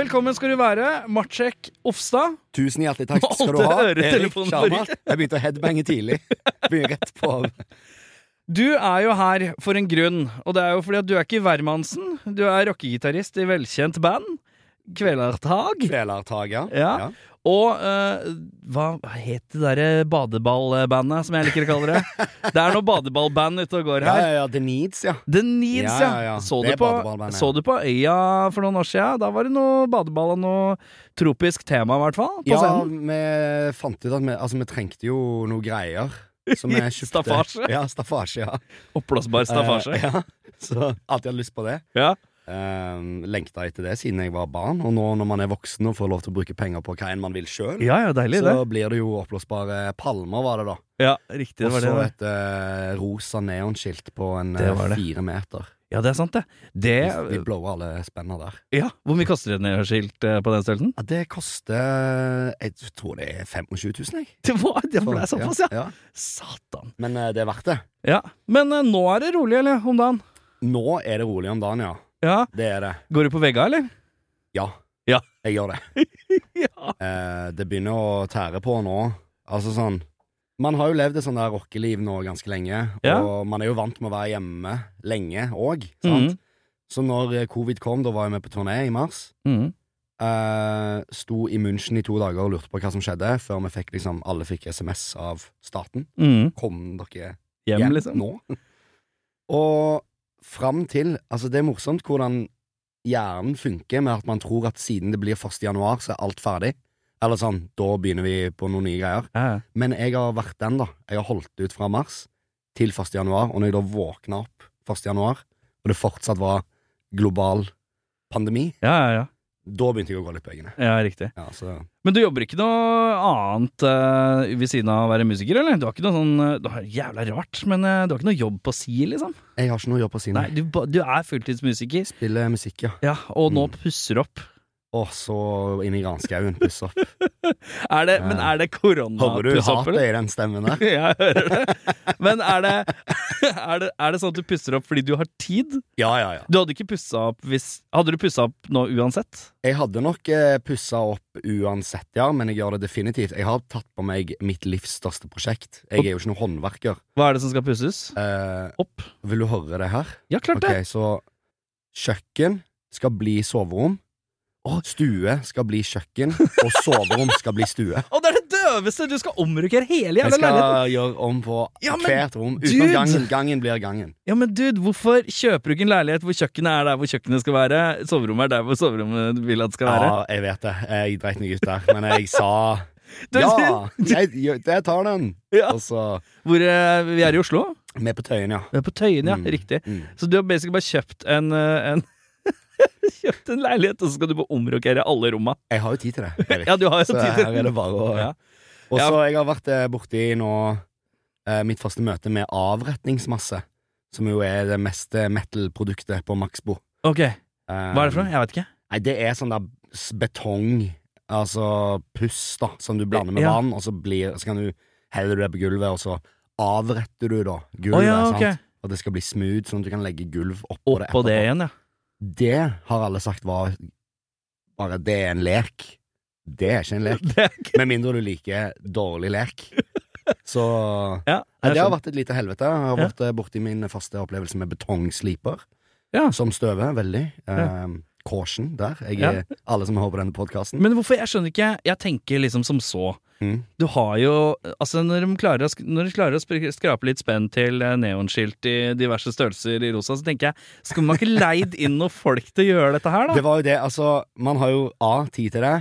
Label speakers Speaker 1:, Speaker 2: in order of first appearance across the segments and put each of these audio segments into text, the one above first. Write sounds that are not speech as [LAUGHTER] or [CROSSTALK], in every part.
Speaker 1: Velkommen skal du være, Matsjek Ofstad.
Speaker 2: Tusen hjertelig takk skal du
Speaker 1: Malte
Speaker 2: ha. Erik
Speaker 1: øretelefonen
Speaker 2: Sharma.
Speaker 1: ryker.
Speaker 2: Jeg begynte å headbange tidlig. Begynner rett på.
Speaker 1: Du er jo her for en grunn, og det er jo fordi at du er ikke hvermannsen. Du er rockegitarist i velkjent band, Kvelertak.
Speaker 2: Kvelertak, ja.
Speaker 1: Ja. Og eh, hva het det derre badeballbandet, som jeg liker å kalle
Speaker 2: [LAUGHS]
Speaker 1: det? Det er noe badeballband ute og går
Speaker 2: Ja,
Speaker 1: her.
Speaker 2: ja, ja, The Needs, ja.
Speaker 1: The Needs, ja.
Speaker 2: Ja, ja, ja.
Speaker 1: Så, du
Speaker 2: Det er
Speaker 1: på,
Speaker 2: badeballbandet.
Speaker 1: så du på Øya for noen år siden? Da var det noe badeball og noe tropisk tema, i hvert fall. På
Speaker 2: Ja,
Speaker 1: scenen.
Speaker 2: vi fant ut at vi, altså, vi trengte jo noe greier.
Speaker 1: [LAUGHS]
Speaker 2: Som jeg kjøpte.
Speaker 1: Staffasje?
Speaker 2: Ja, staffasje, ja.
Speaker 1: Oppblåsbar [LAUGHS] staffasje.
Speaker 2: Eh, ja. Så alltid hatt lyst på det.
Speaker 1: ja.
Speaker 2: Um, lengta etter det siden jeg var barn, og nå når man er voksen og får lov til å bruke penger på hva enn man vil sjøl,
Speaker 1: ja, ja, deilig det.
Speaker 2: så blir det jo oppblåsbare palmer, var det da.
Speaker 1: Ja, riktig. Det
Speaker 2: Og
Speaker 1: var
Speaker 2: så
Speaker 1: det.
Speaker 2: et eh, rosa neonskilt på en
Speaker 1: Det
Speaker 2: eh,
Speaker 1: var det.
Speaker 2: fire meter.
Speaker 1: Ja, det er sant, det.
Speaker 2: Vi,
Speaker 1: Det
Speaker 2: vi blower alle spenna der.
Speaker 1: Ja, Hvor mye koster et neonskilt eh, på den størrelsen?
Speaker 2: Ja, det koster Jeg tror det er 25 000, jeg.
Speaker 1: Det var, det ble
Speaker 2: For-
Speaker 1: såpass, ja.
Speaker 2: ja.
Speaker 1: Satan.
Speaker 2: Men eh, det er verdt det.
Speaker 1: Ja, Men eh, nå er det rolig, eller? Om dagen?
Speaker 2: Nå er det rolig om dagen, ja.
Speaker 1: Ja.
Speaker 2: Det er det.
Speaker 1: Går du på vegga, eller?
Speaker 2: Ja.
Speaker 1: Ja.
Speaker 2: Jeg gjør det.
Speaker 1: Ja.
Speaker 2: Eh, det begynner å tære på nå. Altså sånn Man har jo levd et sånt der rockeliv nå ganske lenge,
Speaker 1: Ja.
Speaker 2: og man er jo vant med å være hjemme lenge òg, sant?
Speaker 1: Mhm.
Speaker 2: Så når eh, covid kom, da var vi på turné i mars.
Speaker 1: Mhm.
Speaker 2: Eh, sto i München i to dager og lurte på hva som skjedde, før vi fikk liksom Alle fikk SMS av staten.
Speaker 1: Mhm.
Speaker 2: Kom dere
Speaker 1: Hjem,
Speaker 2: hjem
Speaker 1: liksom?
Speaker 2: nå. Og fram til Altså, det er morsomt hvordan hjernen funker med at man tror at siden det blir 1. januar, så er alt ferdig. Eller sånn, da begynner vi på noen nye greier.
Speaker 1: Ja, ja.
Speaker 2: Men jeg har vært den, da. Jeg har holdt ut fra mars til 1. januar, og når jeg da våkna opp 1. januar, og det fortsatt var global pandemi,
Speaker 1: ja, ja, ja.
Speaker 2: da begynte jeg å gå litt på øynene.
Speaker 1: ja, riktig.
Speaker 2: Ja, så
Speaker 1: Men du jobber ikke noe annet eh, ved siden av å være musiker, eller? Du har ikke noe sånn eh, du har Jævla rart, men eh, du har ikke noe jobb på si, liksom?
Speaker 2: jeg har ikke noe å gjøre på siden.
Speaker 1: Nei, du, ba- du er fulltidsmusiker,
Speaker 2: Spille musikk, ja.
Speaker 1: Ja, og nå
Speaker 2: Mm.
Speaker 1: pusser opp.
Speaker 2: Og så inn i granskauen, puss opp.
Speaker 1: Er det, men
Speaker 2: Ja.
Speaker 1: er det korona
Speaker 2: Hører du
Speaker 1: puss opp, eller?
Speaker 2: hatet i den
Speaker 1: [LAUGHS]
Speaker 2: stemmen der?
Speaker 1: Jeg hører det. Men er det, er, det, er det sånn at du pusser opp fordi du har tid?
Speaker 2: Ja, ja, ja.
Speaker 1: Du hadde ikke pussa opp hvis Hadde du pussa opp nå uansett?
Speaker 2: Jeg hadde nok eh, pussa opp uansett, ja, men jeg gjør det definitivt. Jeg har tatt på meg mitt livs største prosjekt. Jeg er jo ikke noen håndverker.
Speaker 1: Hva er det som skal pusses?
Speaker 2: Eh,
Speaker 1: Opp?
Speaker 2: vil du høre det her?
Speaker 1: Ja, klart
Speaker 2: Ok,
Speaker 1: det!
Speaker 2: så kjøkken skal bli soverom. Stue skal bli
Speaker 1: [LAUGHS]
Speaker 2: kjøkken, og soverom skal bli stue.
Speaker 1: Å, det er det døveste! Du skal omrokere hele
Speaker 2: Jeg
Speaker 1: jævla
Speaker 2: skal
Speaker 1: leiligheten!
Speaker 2: gjøre om på
Speaker 1: Ja, men
Speaker 2: hvert rom.
Speaker 1: dude!
Speaker 2: Utenom gangen. Gangen blir gangen.
Speaker 1: Ja, men dude, hvorfor kjøper du ikke en leilighet hvor kjøkkenet er der hvor kjøkkenet skal være? Soverommet er der hvor soverommet du vil at det skal være?
Speaker 2: Ja, jeg vet det. Jeg dreit meg ut der, men jeg sa
Speaker 1: [LAUGHS] Du- [LAUGHS]
Speaker 2: Ja! Jeg, jeg tar den!
Speaker 1: Ja.
Speaker 2: Og så
Speaker 1: Hvor eh, Vi er i Oslo?
Speaker 2: Med på Tøyen, ja.
Speaker 1: Vi er på Tøyen, ja.
Speaker 2: Mm.
Speaker 1: Riktig.
Speaker 2: Mm.
Speaker 1: Så du har basically bare kjøpt en, eh, en [LAUGHS] Kjøpt en leilighet, og så skal du bare omrokere alle romma.
Speaker 2: Jeg har jo tid til det,
Speaker 1: [LAUGHS]
Speaker 2: Erik.
Speaker 1: Ja, du har jo
Speaker 2: så
Speaker 1: tid
Speaker 2: her
Speaker 1: til
Speaker 2: er det bare å
Speaker 1: Ja.
Speaker 2: Og
Speaker 1: Ja.
Speaker 2: så jeg har vært eh, borti nå eh, mitt første møte med avretningsmasse, som jo er det meste metal-produktet på Maxbo.
Speaker 1: Ok, hva er det for noe? Jeg vet ikke.
Speaker 2: Nei, det er sånn der s- betong, altså puss, da, som du blander med
Speaker 1: Ja.
Speaker 2: vann, og så, blir, så kan du heller du det på gulvet, og så avretter du da gulvet,
Speaker 1: Å ja, ok.
Speaker 2: sant? Og det skal bli smooth, sånn at du kan legge gulv oppå det.
Speaker 1: Oppå det
Speaker 2: etterpå.
Speaker 1: igjen, ja.
Speaker 2: Det har alle sagt var bare det er en lek. [LAUGHS] Det er ikke en lek.
Speaker 1: Det er ikke
Speaker 2: Med mindre du liker dårlig
Speaker 1: [LAUGHS]
Speaker 2: lek. Så
Speaker 1: ja, sånn.
Speaker 2: Nei, Det har
Speaker 1: skjønner.
Speaker 2: vært et lite helvete. Jeg har
Speaker 1: Ja.
Speaker 2: vært eh, borti min første opplevelse med betongsliper,
Speaker 1: Ja.
Speaker 2: som støver veldig. Eh, Caution der. Jeg, er- Alle som hører på denne podkasten.
Speaker 1: Men hvorfor? Jeg skjønner ikke. Jeg tenker liksom som så.
Speaker 2: Mm.
Speaker 1: Du har jo Altså, når de klarer å, sk- når de klarer å spr- skrape litt spenn til eh, neonskilt i diverse størrelser i rosa, så tenker jeg Skulle man ikke leid inn noen folk til å gjøre dette her,
Speaker 2: [LAUGHS] Det
Speaker 1: da?
Speaker 2: var jo det, altså Man har jo A. tid til det,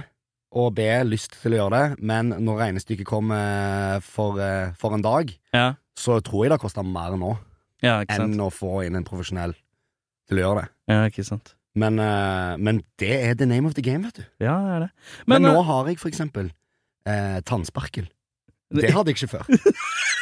Speaker 2: og B. lyst til å gjøre det, men når regnestykket kom eh, for, eh, for en dag,
Speaker 1: Ja,
Speaker 2: så tror jeg det koster mer nå
Speaker 1: ja ikke
Speaker 2: enn
Speaker 1: sant.
Speaker 2: å få inn en profesjonell til å gjøre det.
Speaker 1: Ja, ikke sant.
Speaker 2: Men, eh, men det er the name of the game, vet du.
Speaker 1: Ja, det er det.
Speaker 2: Men,
Speaker 1: Men,
Speaker 2: nå har jeg for eksempel eh, tannsparkel. Det hadde jeg ikke
Speaker 1: [LAUGHS]
Speaker 2: før.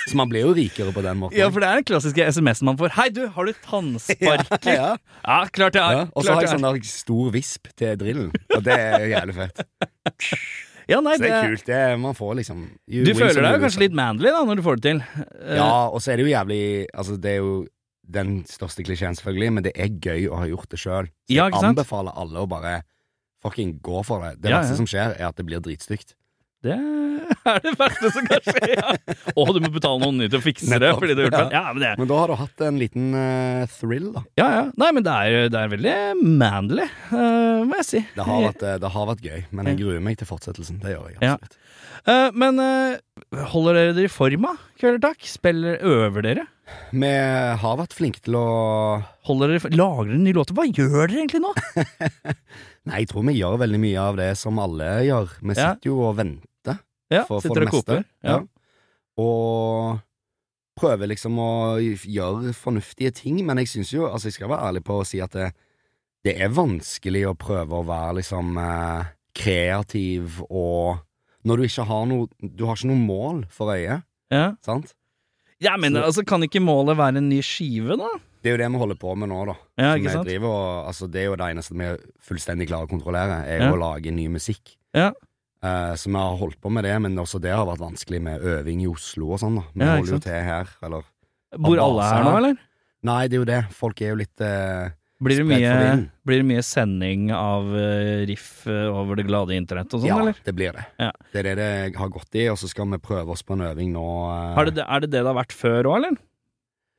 Speaker 2: Så man blir jo rikere på den måten.
Speaker 1: Ja, for det er den klassiske SMS-en man får. Hei, du, har du tannsparker? ja,
Speaker 2: [LAUGHS] ja.
Speaker 1: klart jeg har.
Speaker 2: Ja, og så
Speaker 1: klart
Speaker 2: har jeg
Speaker 1: jeg
Speaker 2: sånn der stor visp til drillen, og det er jo jævlig fett.
Speaker 1: har. Ja, nei,
Speaker 2: Så
Speaker 1: [LAUGHS]
Speaker 2: det
Speaker 1: det
Speaker 2: er kult. Det er, man får liksom you
Speaker 1: Du
Speaker 2: win
Speaker 1: føler
Speaker 2: some,
Speaker 1: deg jo
Speaker 2: you lose
Speaker 1: kanskje litt manly da, når du får det til. Eh,
Speaker 2: Ja, og så er det jo jævlig Altså, det er jo den største klisjeen, selvfølgelig, men det er gøy å ha gjort det sjøl.
Speaker 1: ja,
Speaker 2: Jeg
Speaker 1: ikke sant?
Speaker 2: anbefaler alle å bare fucking gå for det. Det
Speaker 1: Ja, ja.
Speaker 2: verste som skjer, er at det blir dritstygt.
Speaker 1: Det er det verste som kan skje, [LAUGHS] ja. Og du må betale noen nye til å fikse det.
Speaker 2: Nettopp,
Speaker 1: fordi du har gjort
Speaker 2: ja.
Speaker 1: det. Ja, men det
Speaker 2: Men da har du hatt en liten eh, thrill, da.
Speaker 1: ja, ja. Nei, men det er, det er veldig manly, eh, må jeg si.
Speaker 2: Det har, vært, eh, det har vært gøy, men jeg gruer meg til fortsettelsen. Det gjør jeg
Speaker 1: Ja.
Speaker 2: absolutt.
Speaker 1: Eh, men eh, holder dere dere i forma, kvelder takk? Spiller, øver dere?
Speaker 2: Vi har vært flinke til å
Speaker 1: Holder dere, lager dere nye låter? Hva gjør dere egentlig [LAUGHS] nå?
Speaker 2: Nei, jeg tror vi gjør veldig mye av det som alle gjør.
Speaker 1: Ja.
Speaker 2: Vi sitter jo og venter
Speaker 1: Ja,
Speaker 2: for, for
Speaker 1: sitter
Speaker 2: det
Speaker 1: og
Speaker 2: meste.
Speaker 1: koker. Ja.
Speaker 2: Og prøver liksom å gjøre fornuftige ting, men jeg syns jo Altså, jeg skal være ærlig på å si at det, det er vanskelig å prøve å være liksom eh, kreativ og Når du ikke har noe Du har ikke noe mål for øyet,
Speaker 1: Ja.
Speaker 2: sant?
Speaker 1: ja, men
Speaker 2: Så-
Speaker 1: altså, kan ikke målet være en ny skive, da?
Speaker 2: Det er jo det vi holder på med nå, da.
Speaker 1: Ja,
Speaker 2: Så
Speaker 1: ikke
Speaker 2: vi
Speaker 1: sant?
Speaker 2: driver og, altså, det er jo det eneste vi fullstendig klarer å kontrollere, er
Speaker 1: Ja.
Speaker 2: å lage ny musikk.
Speaker 1: Ja.
Speaker 2: Eh, så vi har holdt på med det, men også det har vært vanskelig med øving i Oslo og sånn. da Vi
Speaker 1: Ja, ikke
Speaker 2: holder jo
Speaker 1: sant?
Speaker 2: til her, eller
Speaker 1: Bor alle her nå, eller?
Speaker 2: Nei, det er jo det. Folk er jo litt eh,
Speaker 1: Blir det
Speaker 2: Spredt
Speaker 1: mye,
Speaker 2: for vinden.
Speaker 1: blir det mye sending av eh, riff eh, over det glade internett og sånn,
Speaker 2: Ja,
Speaker 1: eller?
Speaker 2: det blir det.
Speaker 1: Ja.
Speaker 2: Det er det det har gått i, og så skal vi prøve oss på en øving nå. eh,
Speaker 1: Har det, er det det det har vært før òg, eller?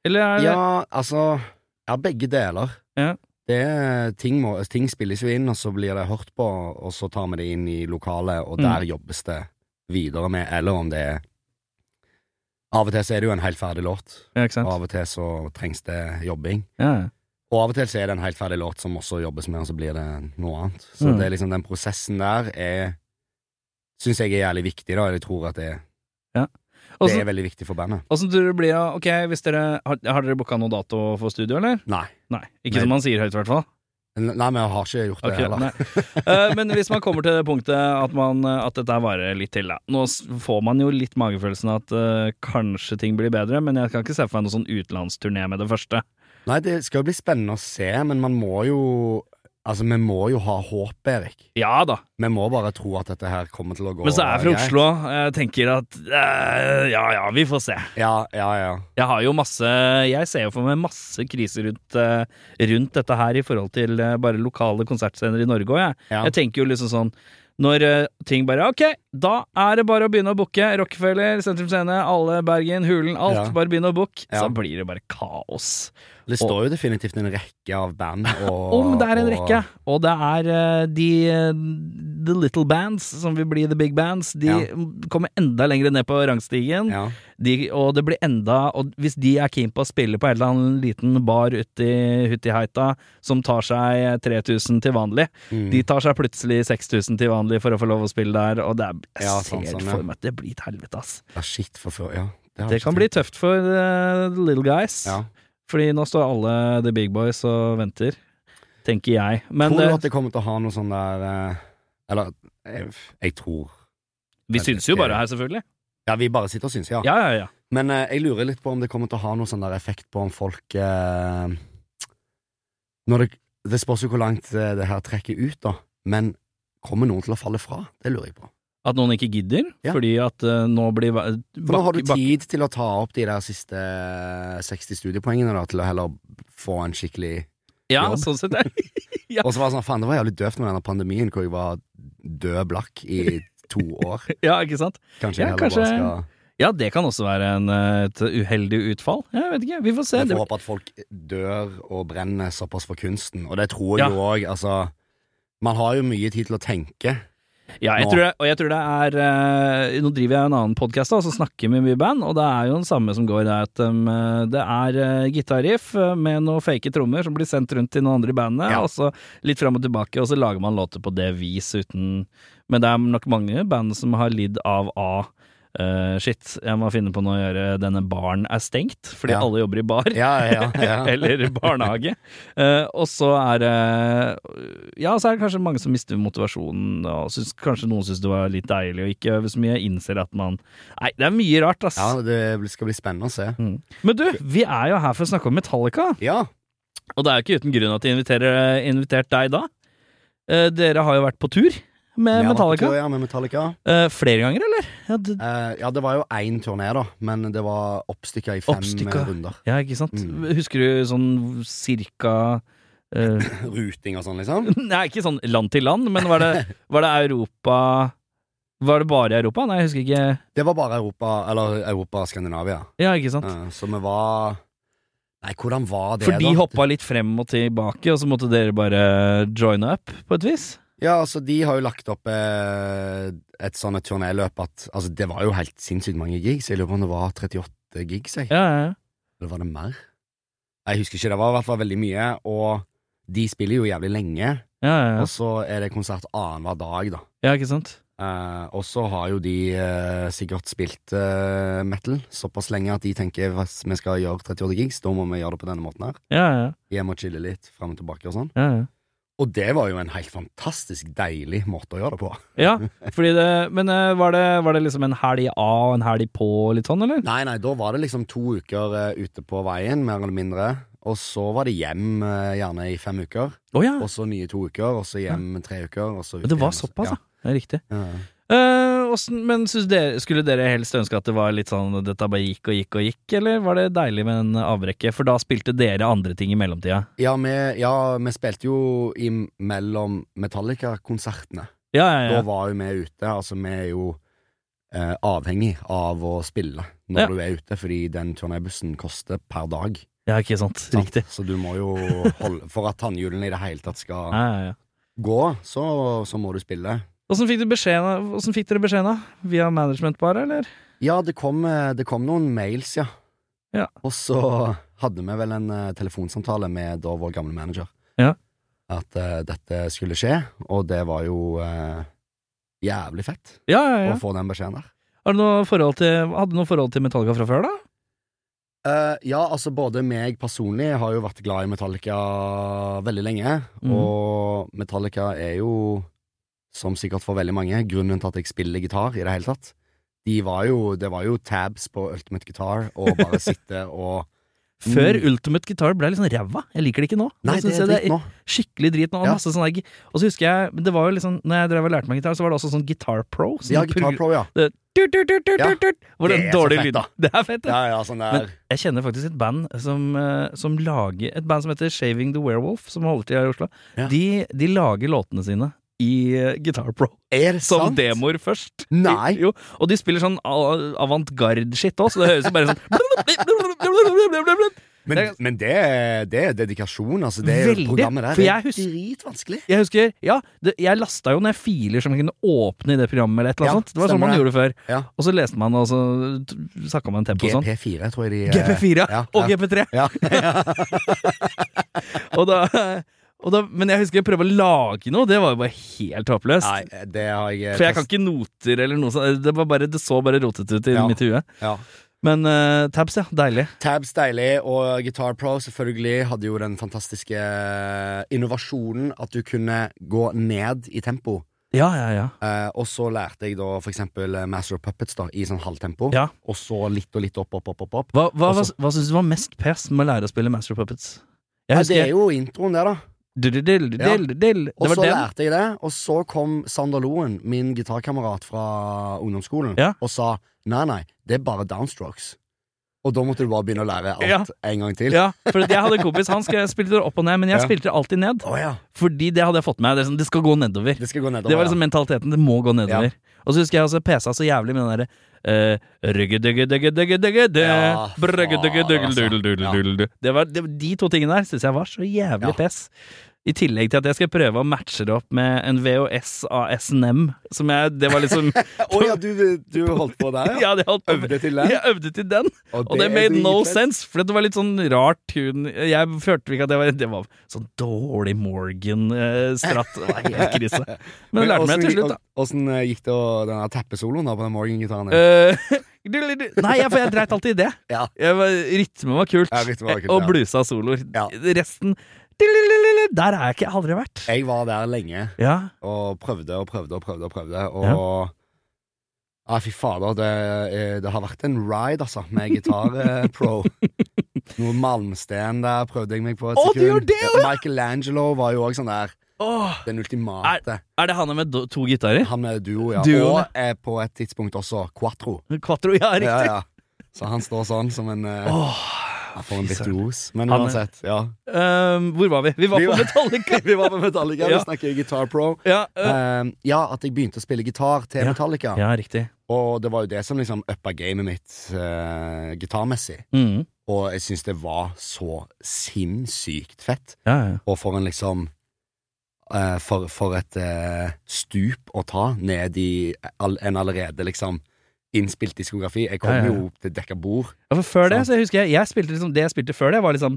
Speaker 1: Eller er det
Speaker 2: Ja, altså Ja, begge deler.
Speaker 1: Ja.
Speaker 2: Det er, ting, må, ting spilles jo inn, og så blir det hørt på, og så tar vi det inn i lokalet, og
Speaker 1: Mm.
Speaker 2: der jobbes det videre med, eller om det er Av og til så er det jo en helt ferdig låt,
Speaker 1: ja, ikke
Speaker 2: og
Speaker 1: sant?
Speaker 2: av og til så trengs det jobbing.
Speaker 1: Ja, ja.
Speaker 2: Og av og til så er det en helt ferdig låt som også jobbes med, og så blir det noe annet. Så
Speaker 1: Mm.
Speaker 2: det er liksom den prosessen der er Syns jeg er jævlig viktig, da. Jeg tror at det, det
Speaker 1: Åssen
Speaker 2: er veldig viktig for bandet.
Speaker 1: åssen tror du det blir av Ok, hvis dere Har, har dere booka noe dato for studio, eller?
Speaker 2: Nei.
Speaker 1: Nei. Ikke
Speaker 2: Nei.
Speaker 1: som man sier høyt, i hvert fall.
Speaker 2: Nei, vi har ikke gjort det
Speaker 1: Ok,
Speaker 2: heller.
Speaker 1: nei. Eh, men hvis man kommer til det punktet at, man, at dette her varer litt til, da. Nå s- får man jo litt magefølelsen at eh, kanskje ting blir bedre, men jeg kan ikke se for meg noen sånn utenlandsturné med det første.
Speaker 2: Nei, det skal jo bli spennende å se, men man må jo Altså, vi må jo ha håp, Erik.
Speaker 1: Ja da,
Speaker 2: Vi må bare tro at dette her kommer til å gå
Speaker 1: men så er jeg fra
Speaker 2: greit.
Speaker 1: Oslo. Jeg tenker at eh, ja ja, vi får se.
Speaker 2: Ja, ja, ja.
Speaker 1: Jeg har jo masse Jeg ser jo for meg masse kriser rundt, eh, rundt dette her i forhold til eh, bare lokale konsertscener i Norge òg, jeg.
Speaker 2: ja.
Speaker 1: Jeg tenker jo liksom sånn når eh, ting bare Ok, da er det bare å begynne å booke. Rockefeller, Sentrum Scene, alle Bergen, Hulen, alt.
Speaker 2: Ja.
Speaker 1: Bare begynne å booke. Så
Speaker 2: Ja.
Speaker 1: blir det bare kaos.
Speaker 2: Det står jo definitivt en rekke av band og
Speaker 1: [LAUGHS] Om det er en
Speaker 2: og-
Speaker 1: rekke, og det er eh, de eh, The little bands, som vil bli the big bands, de
Speaker 2: Ja.
Speaker 1: kommer enda lenger ned på rangstigen.
Speaker 2: Ja.
Speaker 1: De, og det blir enda Og hvis de er keen på å spille på en eller annen liten bar uti Huttiheita som tar seg 3000 til vanlig,
Speaker 2: Mm.
Speaker 1: de tar seg plutselig 6000 til vanlig for å få lov å spille der, og det er, jeg
Speaker 2: Ja,
Speaker 1: ser
Speaker 2: sant, sånn, ja.
Speaker 1: for meg at det blir et helvete, ass.
Speaker 2: ja, shit for før. Ja. har
Speaker 1: Det
Speaker 2: jeg
Speaker 1: kan
Speaker 2: ikke
Speaker 1: bli
Speaker 2: tenkt
Speaker 1: tøft for eh, the little guys,
Speaker 2: på. Ja.
Speaker 1: fordi nå står alle the big boys og venter, tenker jeg. Men
Speaker 2: tror du
Speaker 1: eh,
Speaker 2: at det kommer til å ha noe sånn der eh, Eller jeg, jeg tror
Speaker 1: vi syns jo bare her, selvfølgelig.
Speaker 2: Ja, vi bare sitter og syns, ja.
Speaker 1: Ja, ja, ja.
Speaker 2: Men eh, jeg lurer litt på om det kommer til å ha noe sånn der effekt på om folk eh, Når det, det spørs jo hvor langt eh, det her trekker ut, da. Men kommer noen til å falle fra? Det lurer jeg på.
Speaker 1: At noen ikke gidder,
Speaker 2: Ja.
Speaker 1: fordi at eh, nå blir va-
Speaker 2: For nå har du
Speaker 1: bak- bak-
Speaker 2: tid til å ta opp de der siste 60 studiepoengene, da, til å heller få en skikkelig
Speaker 1: Ja,
Speaker 2: jobb.
Speaker 1: sånn sett. ja. [LAUGHS] Ja.
Speaker 2: Og så var det sånn, faen, det var jævlig døvt med denne pandemien, hvor jeg var død blakk i to år.
Speaker 1: Ja, ikke sant? Ja,
Speaker 2: Kanskje jeg heller
Speaker 1: kanskje-
Speaker 2: bare skal
Speaker 1: Ja, det kan også være en, eh, et uheldig utfall. Jeg vet ikke, vi får se.
Speaker 2: Jeg
Speaker 1: Det,
Speaker 2: får håpe at folk dør og brenner såpass for kunsten, og det tror
Speaker 1: Ja.
Speaker 2: jeg jo òg. Altså, man har jo mye tid til å tenke.
Speaker 1: Ja, jeg
Speaker 2: Nå.
Speaker 1: tror det, og jeg tror det er eh, Nå driver jeg en annen podkast og snakker med mye band, og det er jo den samme som går der at em, eh, det er eh, gitarriff eh, med noen fake trommer som blir sendt rundt til noen andre i bandet,
Speaker 2: Ja.
Speaker 1: og så litt fram og tilbake, og så lager man låter på det vis uten Men det er nok mange band som har lidd av A. eh, shit, jeg må finne på noe å gjøre, denne baren er stengt, fordi
Speaker 2: Ja.
Speaker 1: alle jobber i bar.
Speaker 2: Ja,
Speaker 1: [LAUGHS]
Speaker 2: ja, ja.
Speaker 1: Eller barnehage. Eh, og så er det Ja, så er det kanskje mange som mister motivasjonen, og syns, kanskje noen syns det var litt deilig å ikke øve så mye. Innser at man Nei, det er mye rart, ass.
Speaker 2: ja det blir- skal bli spennende å se.
Speaker 1: Mm. Men du, vi er jo her for å snakke om Metallica,
Speaker 2: Ja,
Speaker 1: og det er jo ikke uten grunn at de inviterer invitert deg da. Eh, dere har jo vært på tur med
Speaker 2: vi har vært på
Speaker 1: Metallica.
Speaker 2: tur, Ja, med Metallica.
Speaker 1: Eh, flere ganger, eller? Ja, det,
Speaker 2: Eh, ja, det var jo én turné, da, men det var oppstykka i fem
Speaker 1: Oppstykka.
Speaker 2: eh, runder. [LAUGHS]
Speaker 1: ja ikke sant?
Speaker 2: Mm.
Speaker 1: Husker du sånn cirka eh,
Speaker 2: Ruting og sånn, liksom.
Speaker 1: [LAUGHS] Nei, ikke sånn land til land, men var det, var det Europa Var det bare Europa? Nei, jeg husker ikke.
Speaker 2: Det var bare Europa, eller Europa og Skandinavia.
Speaker 1: Ja, ikke sant?
Speaker 2: Eh, så vi var Nei, hvordan var det,
Speaker 1: For de
Speaker 2: da?
Speaker 1: hoppa litt frem og tilbake, og så måtte dere bare joine up, på et vis?
Speaker 2: Ja, altså, de har jo lagt opp eh, et sånt turnéløp at Altså, det var jo helt sinnssykt mange gigs. Jeg lurer på om det var 38 gigs, jeg.
Speaker 1: Ja, ja, ja.
Speaker 2: Eller var det mer? Jeg husker ikke. Det var i hvert fall veldig mye, og de spiller jo jævlig lenge.
Speaker 1: Ja, ja, ja.
Speaker 2: Og så er det konsert annenhver dag, da.
Speaker 1: ja ikke sant?
Speaker 2: Eh, og så har jo de eh, sikkert spilt eh, metal såpass lenge at de tenker hvis vi skal gjøre 38 gigs, da må vi gjøre det på denne måten her.
Speaker 1: Ja, ja,
Speaker 2: Hjem og chille litt, fram og tilbake og sånn.
Speaker 1: ja. ja.
Speaker 2: Og det var jo en helt fantastisk deilig måte å gjøre det på.
Speaker 1: Ja, fordi det, men eh, var det, var det liksom en helg av og en helg på, og litt sånn, eller?
Speaker 2: Nei, nei, da var det liksom to uker eh, ute på veien, mer eller mindre. Og så var det hjem eh, gjerne i fem uker.
Speaker 1: Å ja,
Speaker 2: Og så nye to uker, og så hjem tre uker, og så ut
Speaker 1: det var
Speaker 2: igjen, og så-
Speaker 1: såpass, ja. Det er riktig.
Speaker 2: Ja. ja.
Speaker 1: Eh, åssen- men synes dere, skulle dere helst ønske at det var litt sånn at dette bare gikk og gikk og gikk, eller var det deilig med en avbrekke? For da spilte dere andre ting i mellomtida.
Speaker 2: Ja, vi, ja, vi spilte jo im- mellom Metallica-konsertene.
Speaker 1: Ja, ja,
Speaker 2: Da
Speaker 1: ja.
Speaker 2: var jo vi ute. Altså, vi er jo eh, avhengig av å spille når
Speaker 1: Ja.
Speaker 2: du er ute, fordi den turnébussen koster per dag.
Speaker 1: ja ikke sant.
Speaker 2: sant?
Speaker 1: Riktig.
Speaker 2: Så du må jo holde For at tannhjulene i det hele tatt skal
Speaker 1: Ja, ja, ja.
Speaker 2: gå, så, så må du spille.
Speaker 1: Åssen fikk, du beskjeden- hvordan fikk dere beskjeden, da? Via management, bare, eller?
Speaker 2: Ja, det kom, eh, det kom noen mails, ja.
Speaker 1: Ja.
Speaker 2: Og så hadde vi vel en eh, telefonsamtale med da vår gamle manager.
Speaker 1: Ja.
Speaker 2: At eh, dette skulle skje, og det var jo eh, jævlig fett
Speaker 1: Ja, ja, ja.
Speaker 2: å få den beskjeden der.
Speaker 1: Har du noe forhold til, hadde du noe forhold til Metallica fra før, da?
Speaker 2: Eh, ja, altså både meg personlig har jo vært glad i Metallica veldig lenge,
Speaker 1: Mhm.
Speaker 2: og Metallica er jo, som sikkert for veldig mange, grunnen til at jeg spiller gitar i det hele tatt. De var jo, det var jo tabs på Ultimate Guitar, og
Speaker 1: [LAUGHS]
Speaker 2: bare sitte og
Speaker 1: Før
Speaker 2: Mm.
Speaker 1: Ultimate Guitar ble litt sånn ræva. Jeg liker det ikke nå.
Speaker 2: Nei,
Speaker 1: Nå
Speaker 2: det
Speaker 1: synes
Speaker 2: er
Speaker 1: jeg
Speaker 2: dritt nå.
Speaker 1: skikkelig drit nå. Og
Speaker 2: Ja.
Speaker 1: masse sånne der- Og så husker jeg men Det var jo liksom Når jeg drev og lærte meg gitar, så var det også sånn Guitar Pro. Sånn
Speaker 2: Ja, Guitar Pro, ja.
Speaker 1: Det, tut, tut, tut, tut,
Speaker 2: Ja.
Speaker 1: tut, tut, hvor
Speaker 2: Det
Speaker 1: den
Speaker 2: er så
Speaker 1: dårlige lyden
Speaker 2: fett, da.
Speaker 1: [LAUGHS] Det er fett, det.
Speaker 2: [LAUGHS] Ja, ja, sånn
Speaker 1: Men
Speaker 2: der.
Speaker 1: jeg kjenner faktisk et band som, eh, som lager Et band som heter Shaving the Werewolf, som holder til her i Oslo.
Speaker 2: Ja.
Speaker 1: De, de lager låtene sine i eh, Guitar Pro.
Speaker 2: Er det
Speaker 1: Som
Speaker 2: sant?
Speaker 1: demoer først.
Speaker 2: Nei.
Speaker 1: Jo, og de spiller sånn a- avantgarde-shit òg, så det høres jo bare sånn
Speaker 2: Men, men det, er- det er dedikasjon, altså. Det er jo
Speaker 1: Veldig,
Speaker 2: programmet der.
Speaker 1: for jeg
Speaker 2: det
Speaker 1: husker-
Speaker 2: er dritvanskelig.
Speaker 1: [LAUGHS] Jeg husker, ja, det, jeg lasta jo ned filer som jeg kunne åpne i det programmet. eller et eller annet
Speaker 2: Ja,
Speaker 1: sånt. Det var sånn man
Speaker 2: stemmer
Speaker 1: gjorde før.
Speaker 2: Ja.
Speaker 1: Og så leste man, og så snakka man tempo og sånn.
Speaker 2: GP4, tror jeg de eh,
Speaker 1: GP4
Speaker 2: ja,
Speaker 1: og
Speaker 2: ja.
Speaker 1: GP3!
Speaker 2: Ja.
Speaker 1: [LAUGHS] Og da, og da, men jeg husker jeg prøvde å lage noe, det var jo bare helt håpløst.
Speaker 2: Nei, det har jeg eh,
Speaker 1: For jeg kan
Speaker 2: test-
Speaker 1: ikke noter eller noe sånt. Det, var bare, det så bare rotete ut i
Speaker 2: Ja.
Speaker 1: mitt hue.
Speaker 2: ja.
Speaker 1: Men eh, tabs, ja. Deilig.
Speaker 2: Tabs deilig, og Guitar Pro selvfølgelig hadde jo den fantastiske eh, innovasjonen at du kunne gå ned i tempo.
Speaker 1: Ja, ja, ja.
Speaker 2: Eh, og så lærte jeg da for eksempel eh, Master of Puppets da, i sånn halvtempo,
Speaker 1: Ja.
Speaker 2: og så litt og litt opp, opp, opp, opp. opp.
Speaker 1: Hva, hva, hva,
Speaker 2: Også-
Speaker 1: hva syns du var mest pes med å lære å spille Master of Puppets? Jeg
Speaker 2: Ja, det
Speaker 1: husker
Speaker 2: er jo introen der, da.
Speaker 1: Dill,
Speaker 2: Ja.
Speaker 1: dill, dill.
Speaker 2: Og
Speaker 1: Det
Speaker 2: så
Speaker 1: var den.
Speaker 2: lærte jeg det, og så kom Sander Loen, min gitarkamerat fra ungdomsskolen,
Speaker 1: Ja.
Speaker 2: og sa nei, nei, det er bare downstrokes. Og da måtte du bare begynne å lære alt
Speaker 1: Ja.
Speaker 2: en gang til.
Speaker 1: Ja, for at jeg hadde en kompis, han sk- spilte det opp og ned, men jeg
Speaker 2: Ja.
Speaker 1: spilte alltid ned.
Speaker 2: Å ja.
Speaker 1: Fordi det hadde jeg fått med meg. Det, er sånn, det skal gå nedover.
Speaker 2: Det skal gå nedover.
Speaker 1: Det var liksom mentaliteten. Det må gå nedover. Og så husker jeg også pesa så jævlig med den derre eh, røggedøggedøggedøggedøggedø,
Speaker 2: Ja, altså.
Speaker 1: brøggedøggedøggeldøggeldøggeldøggeldøggeldø.
Speaker 2: faen, altså.
Speaker 1: Det var det, De to tingene der syns jeg var så
Speaker 2: Ja.
Speaker 1: jævlig pes. I tillegg til at jeg skal prøve å matche det opp med en VHS av SNM. Som jeg, det var liksom [LAUGHS]
Speaker 2: Å [LAUGHS] ja, du, du holdt på der, ja?
Speaker 1: Ja, det holdt på med.
Speaker 2: Øvde til den?
Speaker 1: Jeg øvde til den, og det made no sense. For det var litt sånn rart hun Jeg følte ikke at det var Det var sånn dårlig Morgan-stratt. Det var helt
Speaker 2: [LAUGHS]
Speaker 1: krise. Men jeg lærte meg til slutt, da.
Speaker 2: Åssen gikk det å- den der tappesoloen da på den Morgan-gitaren? din?
Speaker 1: Eh, [LAUGHS] Nei, jeg- for jeg dreit alltid i det.
Speaker 2: [LAUGHS] Ja.
Speaker 1: Jeg var, rytme var kult,
Speaker 2: Ja, rytme var kult,
Speaker 1: og
Speaker 2: ja.
Speaker 1: blusa soloer.
Speaker 2: Ja.
Speaker 1: Resten Der er jeg ikke, aldri vært.
Speaker 2: Jeg var der lenge
Speaker 1: Ja,
Speaker 2: og prøvde og prøvde og prøvde og prøvde, og
Speaker 1: Ja.
Speaker 2: Ah, fy fader, det, eh, det har vært en ride, altså, med
Speaker 1: [LAUGHS]
Speaker 2: gitar-pro. Noe malmsten der prøvde jeg meg på et
Speaker 1: Å, du gjorde det,
Speaker 2: Ja, Michelangelo var jo òg sånn der.
Speaker 1: Åh,
Speaker 2: Den ultimate.
Speaker 1: Er det han med do- to gitarer?
Speaker 2: Han er duo, ja.
Speaker 1: Duo,
Speaker 2: Og er på et tidspunkt også quatro.
Speaker 1: Quatro, ja, riktig.
Speaker 2: Ja, ja. Så han står sånn som en eh,
Speaker 1: Åh,
Speaker 2: ja, For en
Speaker 1: fy søren.
Speaker 2: virtuos. Men
Speaker 1: Han er-
Speaker 2: uansett, ja. [LAUGHS]
Speaker 1: Ehm, hvor var vi? Vi var
Speaker 2: Vi
Speaker 1: på
Speaker 2: var- [LAUGHS]
Speaker 1: Metallica.
Speaker 2: Vi var på Metallica,
Speaker 1: Ja.
Speaker 2: vi snakker Guitar Pro.
Speaker 1: ja, eh,
Speaker 2: Um, ja, at jeg begynte å spille gitar til
Speaker 1: Ja.
Speaker 2: Metallica.
Speaker 1: ja, riktig.
Speaker 2: Og det var jo det som liksom uppa gamet mitt eh, gitarmessig.
Speaker 1: Mm.
Speaker 2: Og jeg syns det var så sinnssykt fett.
Speaker 1: Ja, ja.
Speaker 2: Og for en liksom eh, for, for et eh, stup å ta ned i all, en allerede liksom innspilt diskografi. Jeg kom
Speaker 1: Ja, ja, ja.
Speaker 2: jo til dekka bord.
Speaker 1: Ja, for før det,
Speaker 2: Sant.
Speaker 1: så jeg husker jeg, jeg spilte liksom, det jeg spilte før det, var liksom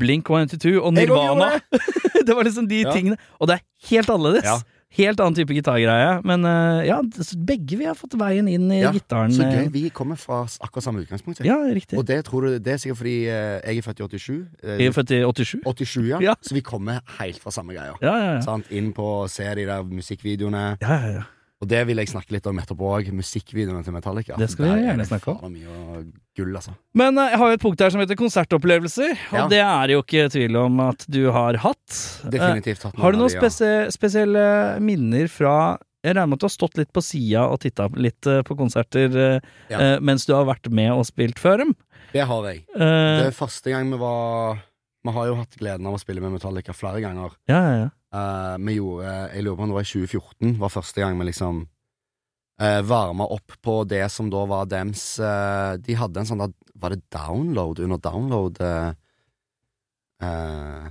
Speaker 1: Blink 182 og
Speaker 2: Jeg også
Speaker 1: Nirvana. [LAUGHS] det var liksom de
Speaker 2: Ja.
Speaker 1: tingene. Og det er helt annerledes.
Speaker 2: Ja.
Speaker 1: Helt annen type gitargreie. Men eh, ja, så begge vi har fått veien inn i
Speaker 2: Ja,
Speaker 1: gitaren.
Speaker 2: Så
Speaker 1: eh,
Speaker 2: gøy. Vi kommer fra s- akkurat samme utgangspunkt. jeg.
Speaker 1: Ja, riktig.
Speaker 2: Og det tror du Det er sikkert fordi eh, jeg er født i 87. eh,
Speaker 1: Jeg er født i 87.
Speaker 2: 87, ja.
Speaker 1: Ja.
Speaker 2: Så vi kommer helt fra samme greia.
Speaker 1: Ja, ja, ja.
Speaker 2: Sant? Inn på å se de der musikkvideoene.
Speaker 1: ja, ja, ja.
Speaker 2: Og det vil jeg snakke litt om etterpå òg. Musikkvideoene til Metallica.
Speaker 1: Det skal vi
Speaker 2: Der er
Speaker 1: gjerne
Speaker 2: det
Speaker 1: snakke om.
Speaker 2: faen mye gull, altså.
Speaker 1: Men eh, jeg har jo et punkt her som heter konsertopplevelser, og
Speaker 2: Ja.
Speaker 1: det er jo ikke tvil om at du har hatt. Eh,
Speaker 2: Definitivt tatt
Speaker 1: Har du noen
Speaker 2: av de, ja.
Speaker 1: spesi- spesielle minner fra Jeg regner med at du har stått litt på sida og titta litt eh, på konserter eh,
Speaker 2: Ja.
Speaker 1: eh, mens du har vært med og spilt før dem.
Speaker 2: Det har jeg.
Speaker 1: Eh,
Speaker 2: Det er første gang vi var Vi har jo hatt gleden av å spille med Metallica flere ganger.
Speaker 1: ja, ja, ja.
Speaker 2: Eh, vi gjorde Jeg lurer på om det var i 2014 var første gang vi liksom uh, varma opp på det som da var dems eh, De hadde en sånn der Var det download under download? eh, eh,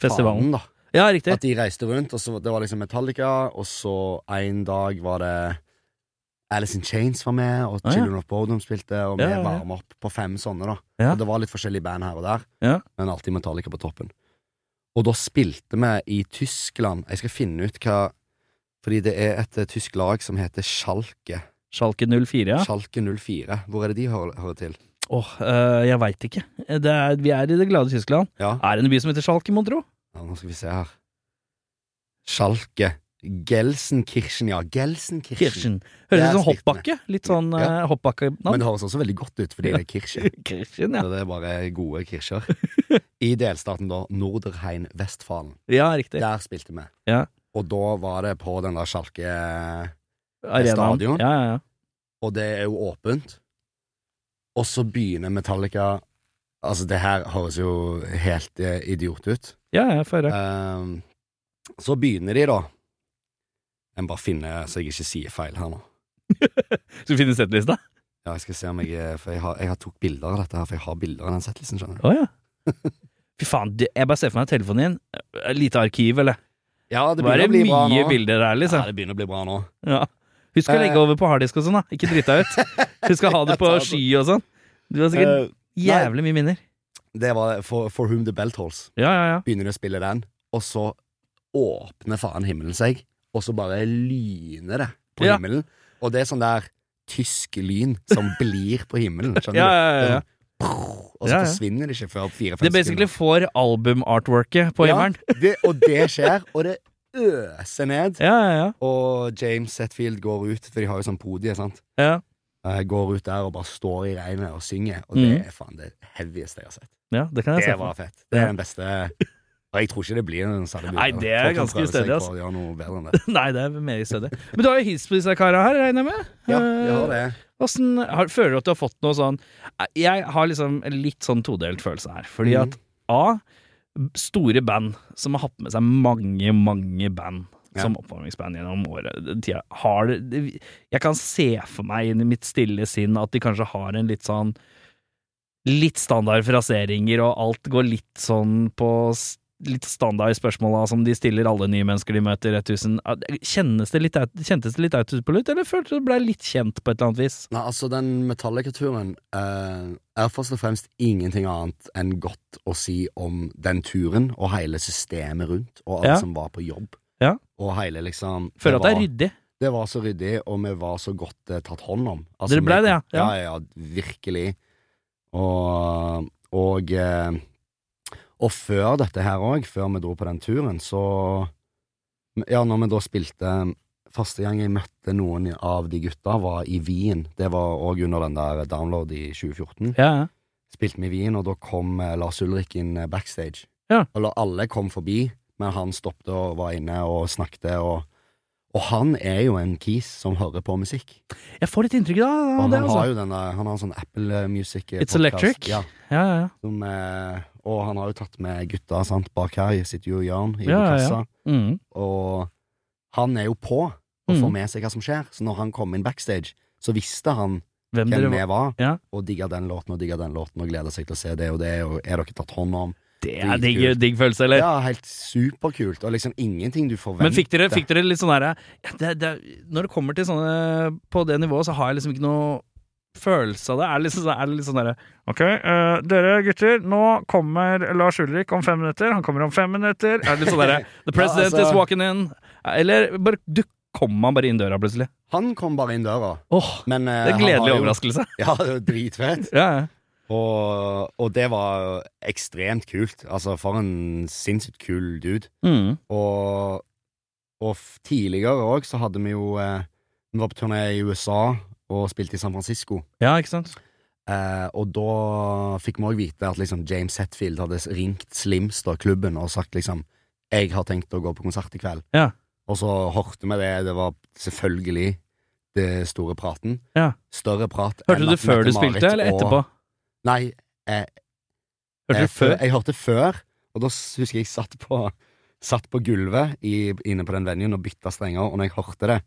Speaker 1: Festivalen.
Speaker 2: fanen, da.
Speaker 1: Ja, riktig.
Speaker 2: At de reiste rundt, og så det var liksom Metallica, og så en dag var det Alice in Chains var med, og
Speaker 1: Ah, ja.
Speaker 2: Children of Bodom spilte, og vi
Speaker 1: Ja, ja, ja.
Speaker 2: varma opp på fem sånne, da.
Speaker 1: Ja.
Speaker 2: Og det var litt forskjellige band her og der,
Speaker 1: Ja.
Speaker 2: men alltid Metallica på toppen. Og da spilte vi i Tyskland Jeg skal finne ut hva Fordi det er et eh, tysk lag som heter Schalke.
Speaker 1: Schalke 04, ja.
Speaker 2: Schalke 04. Hvor er det de hører, hører til?
Speaker 1: Åh, eh, jeg veit ikke. Det er, vi er i det glade Tyskland.
Speaker 2: Ja.
Speaker 1: Er det en by som heter Schalke, mon
Speaker 2: [LAUGHS]
Speaker 1: tro?
Speaker 2: ja, nå skal vi se her. Schalke. Gelsenkirchen, ja. Gelsenkirchen.
Speaker 1: Kirchen.
Speaker 2: Det
Speaker 1: Høres
Speaker 2: er
Speaker 1: ut som
Speaker 2: slikt med.
Speaker 1: hoppbakke. Litt sånn
Speaker 2: Ja.
Speaker 1: uh,
Speaker 2: Men
Speaker 1: hoppbakkenavn.
Speaker 2: det høres også veldig godt ut, fordi det er Kirche.
Speaker 1: Kirchen, ja.
Speaker 2: [LAUGHS] Så det er bare
Speaker 1: [LAUGHS]
Speaker 2: gode kirscher. I delstaten da, Norderheim-Vestfalen.
Speaker 1: Ja, riktig.
Speaker 2: Der spilte vi.
Speaker 1: Ja.
Speaker 2: Og da var det på den der Schalke
Speaker 1: Arenaen.
Speaker 2: stadion.
Speaker 1: Ja, ja, ja.
Speaker 2: Og det er jo åpent. Og så begynner Metallica Altså, det her høres jo helt eh, idiot ut.
Speaker 1: Ja, ja, få høre.
Speaker 2: Ehm, så begynner de, da. Jeg må bare finne så jeg ikke sier feil her nå.
Speaker 1: Skal vi finne settlista?
Speaker 2: Ja, jeg skal se om jeg eh, For jeg har, jeg har tok bilder av dette her, for jeg har bilder av den settelsen, skjønner du.
Speaker 1: Å ja. [LAUGHS] Fy faen, det- jeg bare ser for meg telefonen din. Et lite arkiv, eller?
Speaker 2: Ja,
Speaker 1: Det var det mye bilder der,
Speaker 2: Ja,
Speaker 1: liksom.
Speaker 2: det begynner å bli bra nå.
Speaker 1: Ja. Husk å
Speaker 2: Eh.
Speaker 1: legge over på harddisk og sånn, da. Ikke drite deg
Speaker 2: [LAUGHS]
Speaker 1: ut. Husk å ha det på
Speaker 2: Jeg tar det.
Speaker 1: sky og sånn. Du har sikkert
Speaker 2: Eh,
Speaker 1: jævlig mye minner.
Speaker 2: Det var for, for Whom the Bell Tolls.
Speaker 1: Ja, ja, ja.
Speaker 2: Begynner de å spille den, og så åpner faen himmelen seg, og så bare lyner det på
Speaker 1: Ja.
Speaker 2: himmelen. Og det er sånn der tysk lyn
Speaker 1: [LAUGHS]
Speaker 2: som blir på himmelen, skjønner
Speaker 1: Ja, ja, ja, ja.
Speaker 2: du? Det er sånn, prrr, Og så
Speaker 1: Ja, ja.
Speaker 2: forsvinner det ikke før
Speaker 1: Det
Speaker 2: fire-fem
Speaker 1: basically får albumartworket på himmelen.
Speaker 2: Ja, [LAUGHS] det, og det skjer, og det øser ned.
Speaker 1: Ja, ja,
Speaker 2: Og James Setfield går ut, for de har jo sånn podie, sant.
Speaker 1: ja. ja.
Speaker 2: Eh, Går ut der og bare står i regnet og synger, og det
Speaker 1: Mhm.
Speaker 2: er faen det heavieste jeg har sett.
Speaker 1: Ja, det kan jeg se
Speaker 2: Det
Speaker 1: for meg. [LAUGHS]
Speaker 2: var fett. Det
Speaker 1: Ja.
Speaker 2: er den beste Og jeg tror ikke det blir en særlig
Speaker 1: Nei, det er ganske stødig, altså.
Speaker 2: Gjøre noe bedre enn det.
Speaker 1: Nei, det er mer stødig. Men du har jo hilst på disse kara her, regner jeg med? Eh,
Speaker 2: Ja, vi har det.
Speaker 1: Hvordan, har, føler du at du har fått noe sånn Jeg har liksom en litt sånn todelt følelse her. Fordi
Speaker 2: Mhm.
Speaker 1: at A. Store band som har hatt med seg mange, mange band
Speaker 2: Ja.
Speaker 1: som oppvarmingsband gjennom året. den tida, Har det, det- jeg kan se for meg inn i mitt stille sinn at de kanskje har en litt sånn Litt standard fraseringer, og alt går litt sånn på litt standard spørsmåla som de stiller alle nye mennesker de møter i Retthusen. Kjennes det litt aut- Kjentes det litt autopilot, eller følte du det ble litt kjent på et eller annet vis?
Speaker 2: Nei, altså Den Metallica-turen eh, er først og fremst ingenting annet enn godt å si om den turen og hele systemet rundt, og alle
Speaker 1: Ja.
Speaker 2: som var på jobb.
Speaker 1: Ja.
Speaker 2: Og hele liksom
Speaker 1: Føler at det er
Speaker 2: var-
Speaker 1: ryddig.
Speaker 2: Det var så ryddig, og vi var så godt eh, tatt hånd om. Altså,
Speaker 1: Dere ble
Speaker 2: vi-
Speaker 1: det, ja? Ja.
Speaker 2: Ja, ja, ja virkelig. Og, og, eh, og før dette her òg, før vi dro på den turen, så Ja, når vi da spilte eh, Første gang jeg møtte noen av de gutta, var i Wien. Det var òg under den der download i 2014
Speaker 1: Ja, ja.
Speaker 2: spilte vi i Wien, og da kom eh, Lars Ulrik inn eh, backstage.
Speaker 1: Ja.
Speaker 2: Eller alle kom forbi, men han stoppet og var inne og snakket. Og, og han er jo en kis som hører på musikk.
Speaker 1: Jeg får litt inntrykk da,
Speaker 2: Og
Speaker 1: av det,
Speaker 2: han
Speaker 1: altså.
Speaker 2: har jo den der, han har en sånn Apple Music-podkast.
Speaker 1: It's Electric.
Speaker 2: Ja,
Speaker 1: Ja, ja, ja.
Speaker 2: som, eh, og han har jo tatt med gutta sant, bak her, jeg sitter jo i Jørn i
Speaker 1: Ja, ja, ja.
Speaker 2: kassa,
Speaker 1: Mm.
Speaker 2: og han er jo på og
Speaker 1: Mm.
Speaker 2: får med seg hva som skjer. Så når han kom inn backstage, så visste han
Speaker 1: Hvem
Speaker 2: hvem
Speaker 1: dere
Speaker 2: vi
Speaker 1: var.
Speaker 2: var,
Speaker 1: Ja.
Speaker 2: og digga den låten og digga den låten og gleder seg til å se det og det, og er dere tatt hånd om?
Speaker 1: Det er
Speaker 2: Dritkult.
Speaker 1: digg, digg følelse, eller?
Speaker 2: Ja, helt superkult, og liksom ingenting du forventer.
Speaker 1: Men fikk dere, fikk dere litt sånn derre ja, det, det, Når det kommer til sånne På det nivået, så har jeg liksom ikke noe følelse av det. Er det liksom, er det litt sånn derre Ok, eh, dere gutter, nå kommer Lars Ulrik om fem minutter. Han kommer om fem minutter. Er det litt sånn
Speaker 2: [LAUGHS]
Speaker 1: derre The president
Speaker 2: altså-
Speaker 1: is walking in. Eller bare du kom han bare inn døra plutselig.
Speaker 2: Han kom bare inn døra.
Speaker 1: Åh,
Speaker 2: Men, eh,
Speaker 1: det er en
Speaker 2: han var
Speaker 1: gledelig
Speaker 2: jo-
Speaker 1: overraskelse.
Speaker 2: [LAUGHS] Ja, det var dritfett.
Speaker 1: Ja, ja.
Speaker 2: Og, og det var ekstremt kult. Altså, for en sinnssykt kul dude.
Speaker 1: Mm.
Speaker 2: Og, og f- tidligere òg så hadde vi jo eh, Vi var på turné i USA og spilte i San Francisco.
Speaker 1: ja, ikke sant?
Speaker 2: Eh, og da fikk vi òg vite at liksom James Hetfield hadde ringt Slims, da, klubben, og sagt liksom 'Jeg har tenkt å gå på konsert i kveld'.
Speaker 1: Ja.
Speaker 2: Og så hørte vi det. Det var selvfølgelig det store praten.
Speaker 1: Ja.
Speaker 2: Større prat enn
Speaker 1: Hørte du
Speaker 2: at
Speaker 1: det før du
Speaker 2: Mette-Marit
Speaker 1: spilte, eller
Speaker 2: og-
Speaker 1: etterpå?
Speaker 2: Nei, eh,
Speaker 1: Hørte
Speaker 2: jeg,
Speaker 1: du før?
Speaker 2: jeg hørte før, og da s- husker jeg jeg satt på, satt på gulvet i, inne på den venuen og bytta strenger, og når jeg hørte det,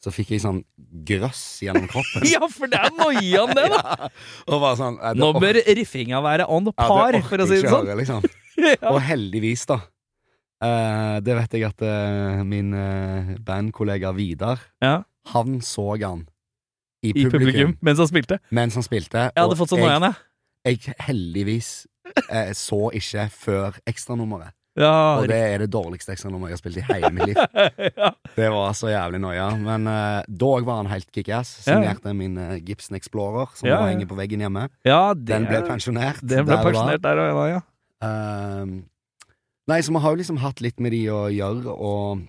Speaker 2: så fikk jeg sånn grøss gjennom kroppen.
Speaker 1: [LAUGHS] Ja, for det er noiaen, det, da!
Speaker 2: [LAUGHS] Ja, og var sånn eh, det
Speaker 1: Nå
Speaker 2: orker-
Speaker 1: bør riffinga være on
Speaker 2: Ja,
Speaker 1: par,
Speaker 2: det orker
Speaker 1: for å si det
Speaker 2: jeg ikke
Speaker 1: sånn.
Speaker 2: høre,
Speaker 1: [LAUGHS]
Speaker 2: liksom.
Speaker 1: Ja.
Speaker 2: Og heldigvis, da. Eh, det vet jeg at eh, min eh, bandkollega Vidar
Speaker 1: Ja.
Speaker 2: Han så han i
Speaker 1: i
Speaker 2: publikum,
Speaker 1: publikum mens han spilte.
Speaker 2: mens han spilte.
Speaker 1: Jeg hadde
Speaker 2: og
Speaker 1: fått sånn noia, jeg.
Speaker 2: jeg, jeg heldigvis eh, så ikke før ekstranummeret.
Speaker 1: [LAUGHS] Ja,
Speaker 2: Og det er det dårligste ekstranummeret jeg har spilt i hele
Speaker 1: [LAUGHS]
Speaker 2: mitt liv.
Speaker 1: riktig. ja.
Speaker 2: Det var så jævlig noia. Men eh, dog var han helt kickass.
Speaker 1: Ja.
Speaker 2: Signerte min eh, Gibson Explorer, som
Speaker 1: Ja,
Speaker 2: nå
Speaker 1: ja.
Speaker 2: henger på veggen hjemme.
Speaker 1: ja, det
Speaker 2: Den ble pensjonert.
Speaker 1: Den ble
Speaker 2: der og da.
Speaker 1: pensjonert der og da, ja.
Speaker 2: Ehm, nei, så vi har jo liksom hatt litt med de å gjøre, og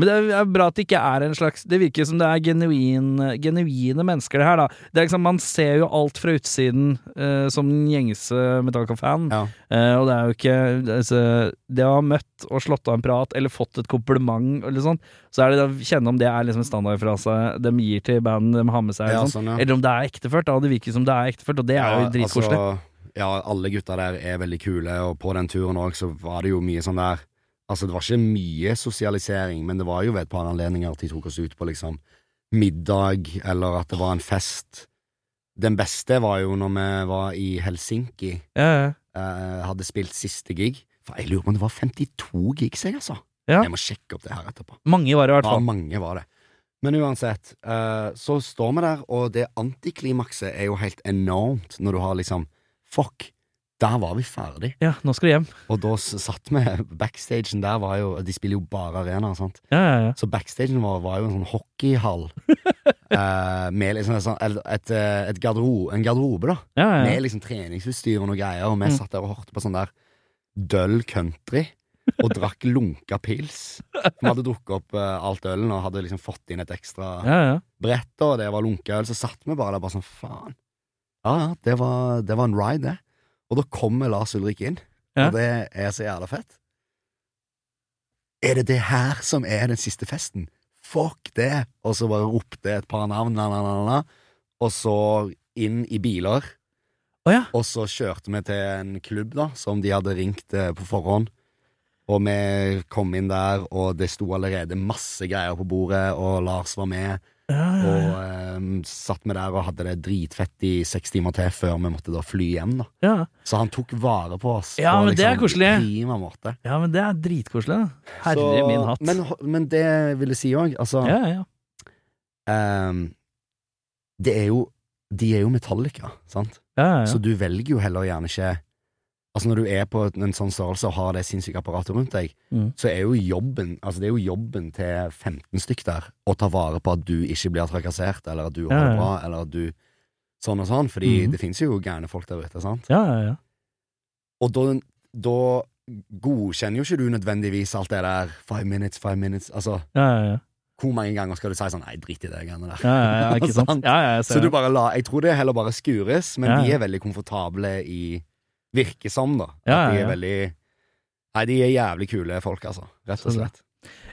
Speaker 1: Men det er bra at det ikke er en slags Det virker som det er genuine, genuine mennesker, det her, da. Det er liksom, man ser jo alt fra utsiden eh, som den gjengse Metallica-fan,
Speaker 2: Ja.
Speaker 1: Eh, og det er jo ikke altså, Det å ha møtt og slått av en prat eller fått et kompliment eller sånn, så er det å kjenne om det er liksom en standardfrase de gir til bandet de har med seg, eller,
Speaker 2: ja,
Speaker 1: sånn.
Speaker 2: sånn, ja.
Speaker 1: eller om det er ekteført. Da. Det virker som det er ekteført, og det er jo dritkoselig.
Speaker 2: Ja, altså, ja, alle gutta der er veldig kule, og på den turen òg så var det jo mye sånn der Altså, det var ikke mye sosialisering, men det var jo ved et par anledninger at de tok oss ut på liksom middag, eller at det var en fest. Den beste var jo når vi var i Helsinki,
Speaker 1: Ja, ja.
Speaker 2: eh, hadde spilt siste gig. For jeg lurer på om det var 52 gigs, jeg, altså.
Speaker 1: Ja.
Speaker 2: Jeg må sjekke opp det her etterpå.
Speaker 1: Mange var det i hvert
Speaker 2: Ja,
Speaker 1: fall.
Speaker 2: mange var det. Men uansett, eh, så står vi der, og det antiklimakset er jo helt enormt når du har liksom Fuck, der var vi ferdig.
Speaker 1: Ja, nå skal du hjem.
Speaker 2: Og da s- satt vi [LAUGHS] Backstagen der var jo De spiller jo bare arena, sant.
Speaker 1: Ja, ja, ja.
Speaker 2: Så backstagen vår var jo en sånn hockeyhall. eh, med liksom et, sånn- et, et, eh, et garderobe, en garderobe, da.
Speaker 1: ja, ja, ja.
Speaker 2: Med liksom treningsutstyr og noe greier, og vi
Speaker 1: Mm.
Speaker 2: satt der og hørte på sånn der døll country. Og drakk lunka pils.
Speaker 1: [LAUGHS]
Speaker 2: Vi hadde drukket opp eh, alt ølen og hadde liksom fått inn et ekstra
Speaker 1: ja, ja.
Speaker 2: brett, og det var lunkeøl, så satt vi bare der bare sånn, faen. Ja, ja, det var, det var en ride, det. Og da kommer Lars Ulrik inn,
Speaker 1: Ja.
Speaker 2: og det er så jævla fett. Er det det her som er den siste festen? Fuck det! Og så bare ropte et par navn, na, na, na, na, na. og så inn i biler.
Speaker 1: Å ja.
Speaker 2: Og så kjørte vi til en klubb da, som de hadde ringt eh, på forhånd. Og vi kom inn der, og det sto allerede masse greier på bordet, og Lars var med.
Speaker 1: Ja, ja,
Speaker 2: Og
Speaker 1: ja.
Speaker 2: eh, satt vi der og hadde det dritfett i seks timer til før vi måtte da fly hjem. da
Speaker 1: ja.
Speaker 2: Så han tok vare på oss.
Speaker 1: Ja,
Speaker 2: på liksom
Speaker 1: men det er koselig.
Speaker 2: prima måte.
Speaker 1: ja men det er dritkoselig. da. Herre
Speaker 2: Så-
Speaker 1: min hatt.
Speaker 2: Men, men det vil jeg si òg. Altså,
Speaker 1: ja, ja, ja.
Speaker 2: ehm, det er jo De er jo metallica, sant?
Speaker 1: ja, ja,
Speaker 2: Så
Speaker 1: ja.
Speaker 2: du velger jo heller gjerne ikke Altså Når du er på en en sånn størrelse og har det sinnssyke apparatet rundt deg,
Speaker 1: Mm.
Speaker 2: så er jo jobben Altså det er jo jobben til 15 stykk der å ta vare på at du ikke blir trakassert, eller at du har
Speaker 1: Ja, ja.
Speaker 2: det bra, eller at du Sånn og sånn, fordi
Speaker 1: Mhm.
Speaker 2: det finnes jo gærne folk der ute, sant?
Speaker 1: ja, ja, ja.
Speaker 2: Og da, da godkjenner jo ikke du nødvendigvis alt det der five minutes, five minutes Altså,
Speaker 1: ja, ja, ja.
Speaker 2: hvor mange ganger skal du si sånn Nei, drit i det greiene der.
Speaker 1: Ja, ja,
Speaker 2: [LAUGHS]
Speaker 1: ja, ikke sant?
Speaker 2: Sant?
Speaker 1: Ja, ja, jeg
Speaker 2: Så
Speaker 1: ser
Speaker 2: du
Speaker 1: det.
Speaker 2: bare la, jeg tror det heller bare skures, men
Speaker 1: Ja, ja.
Speaker 2: de er veldig komfortable i Virker som, da. At
Speaker 1: Ja, ja,
Speaker 2: de
Speaker 1: ja.
Speaker 2: er veldig Nei, de er jævlig kule folk, altså. Rett og
Speaker 1: Så bra.
Speaker 2: slett.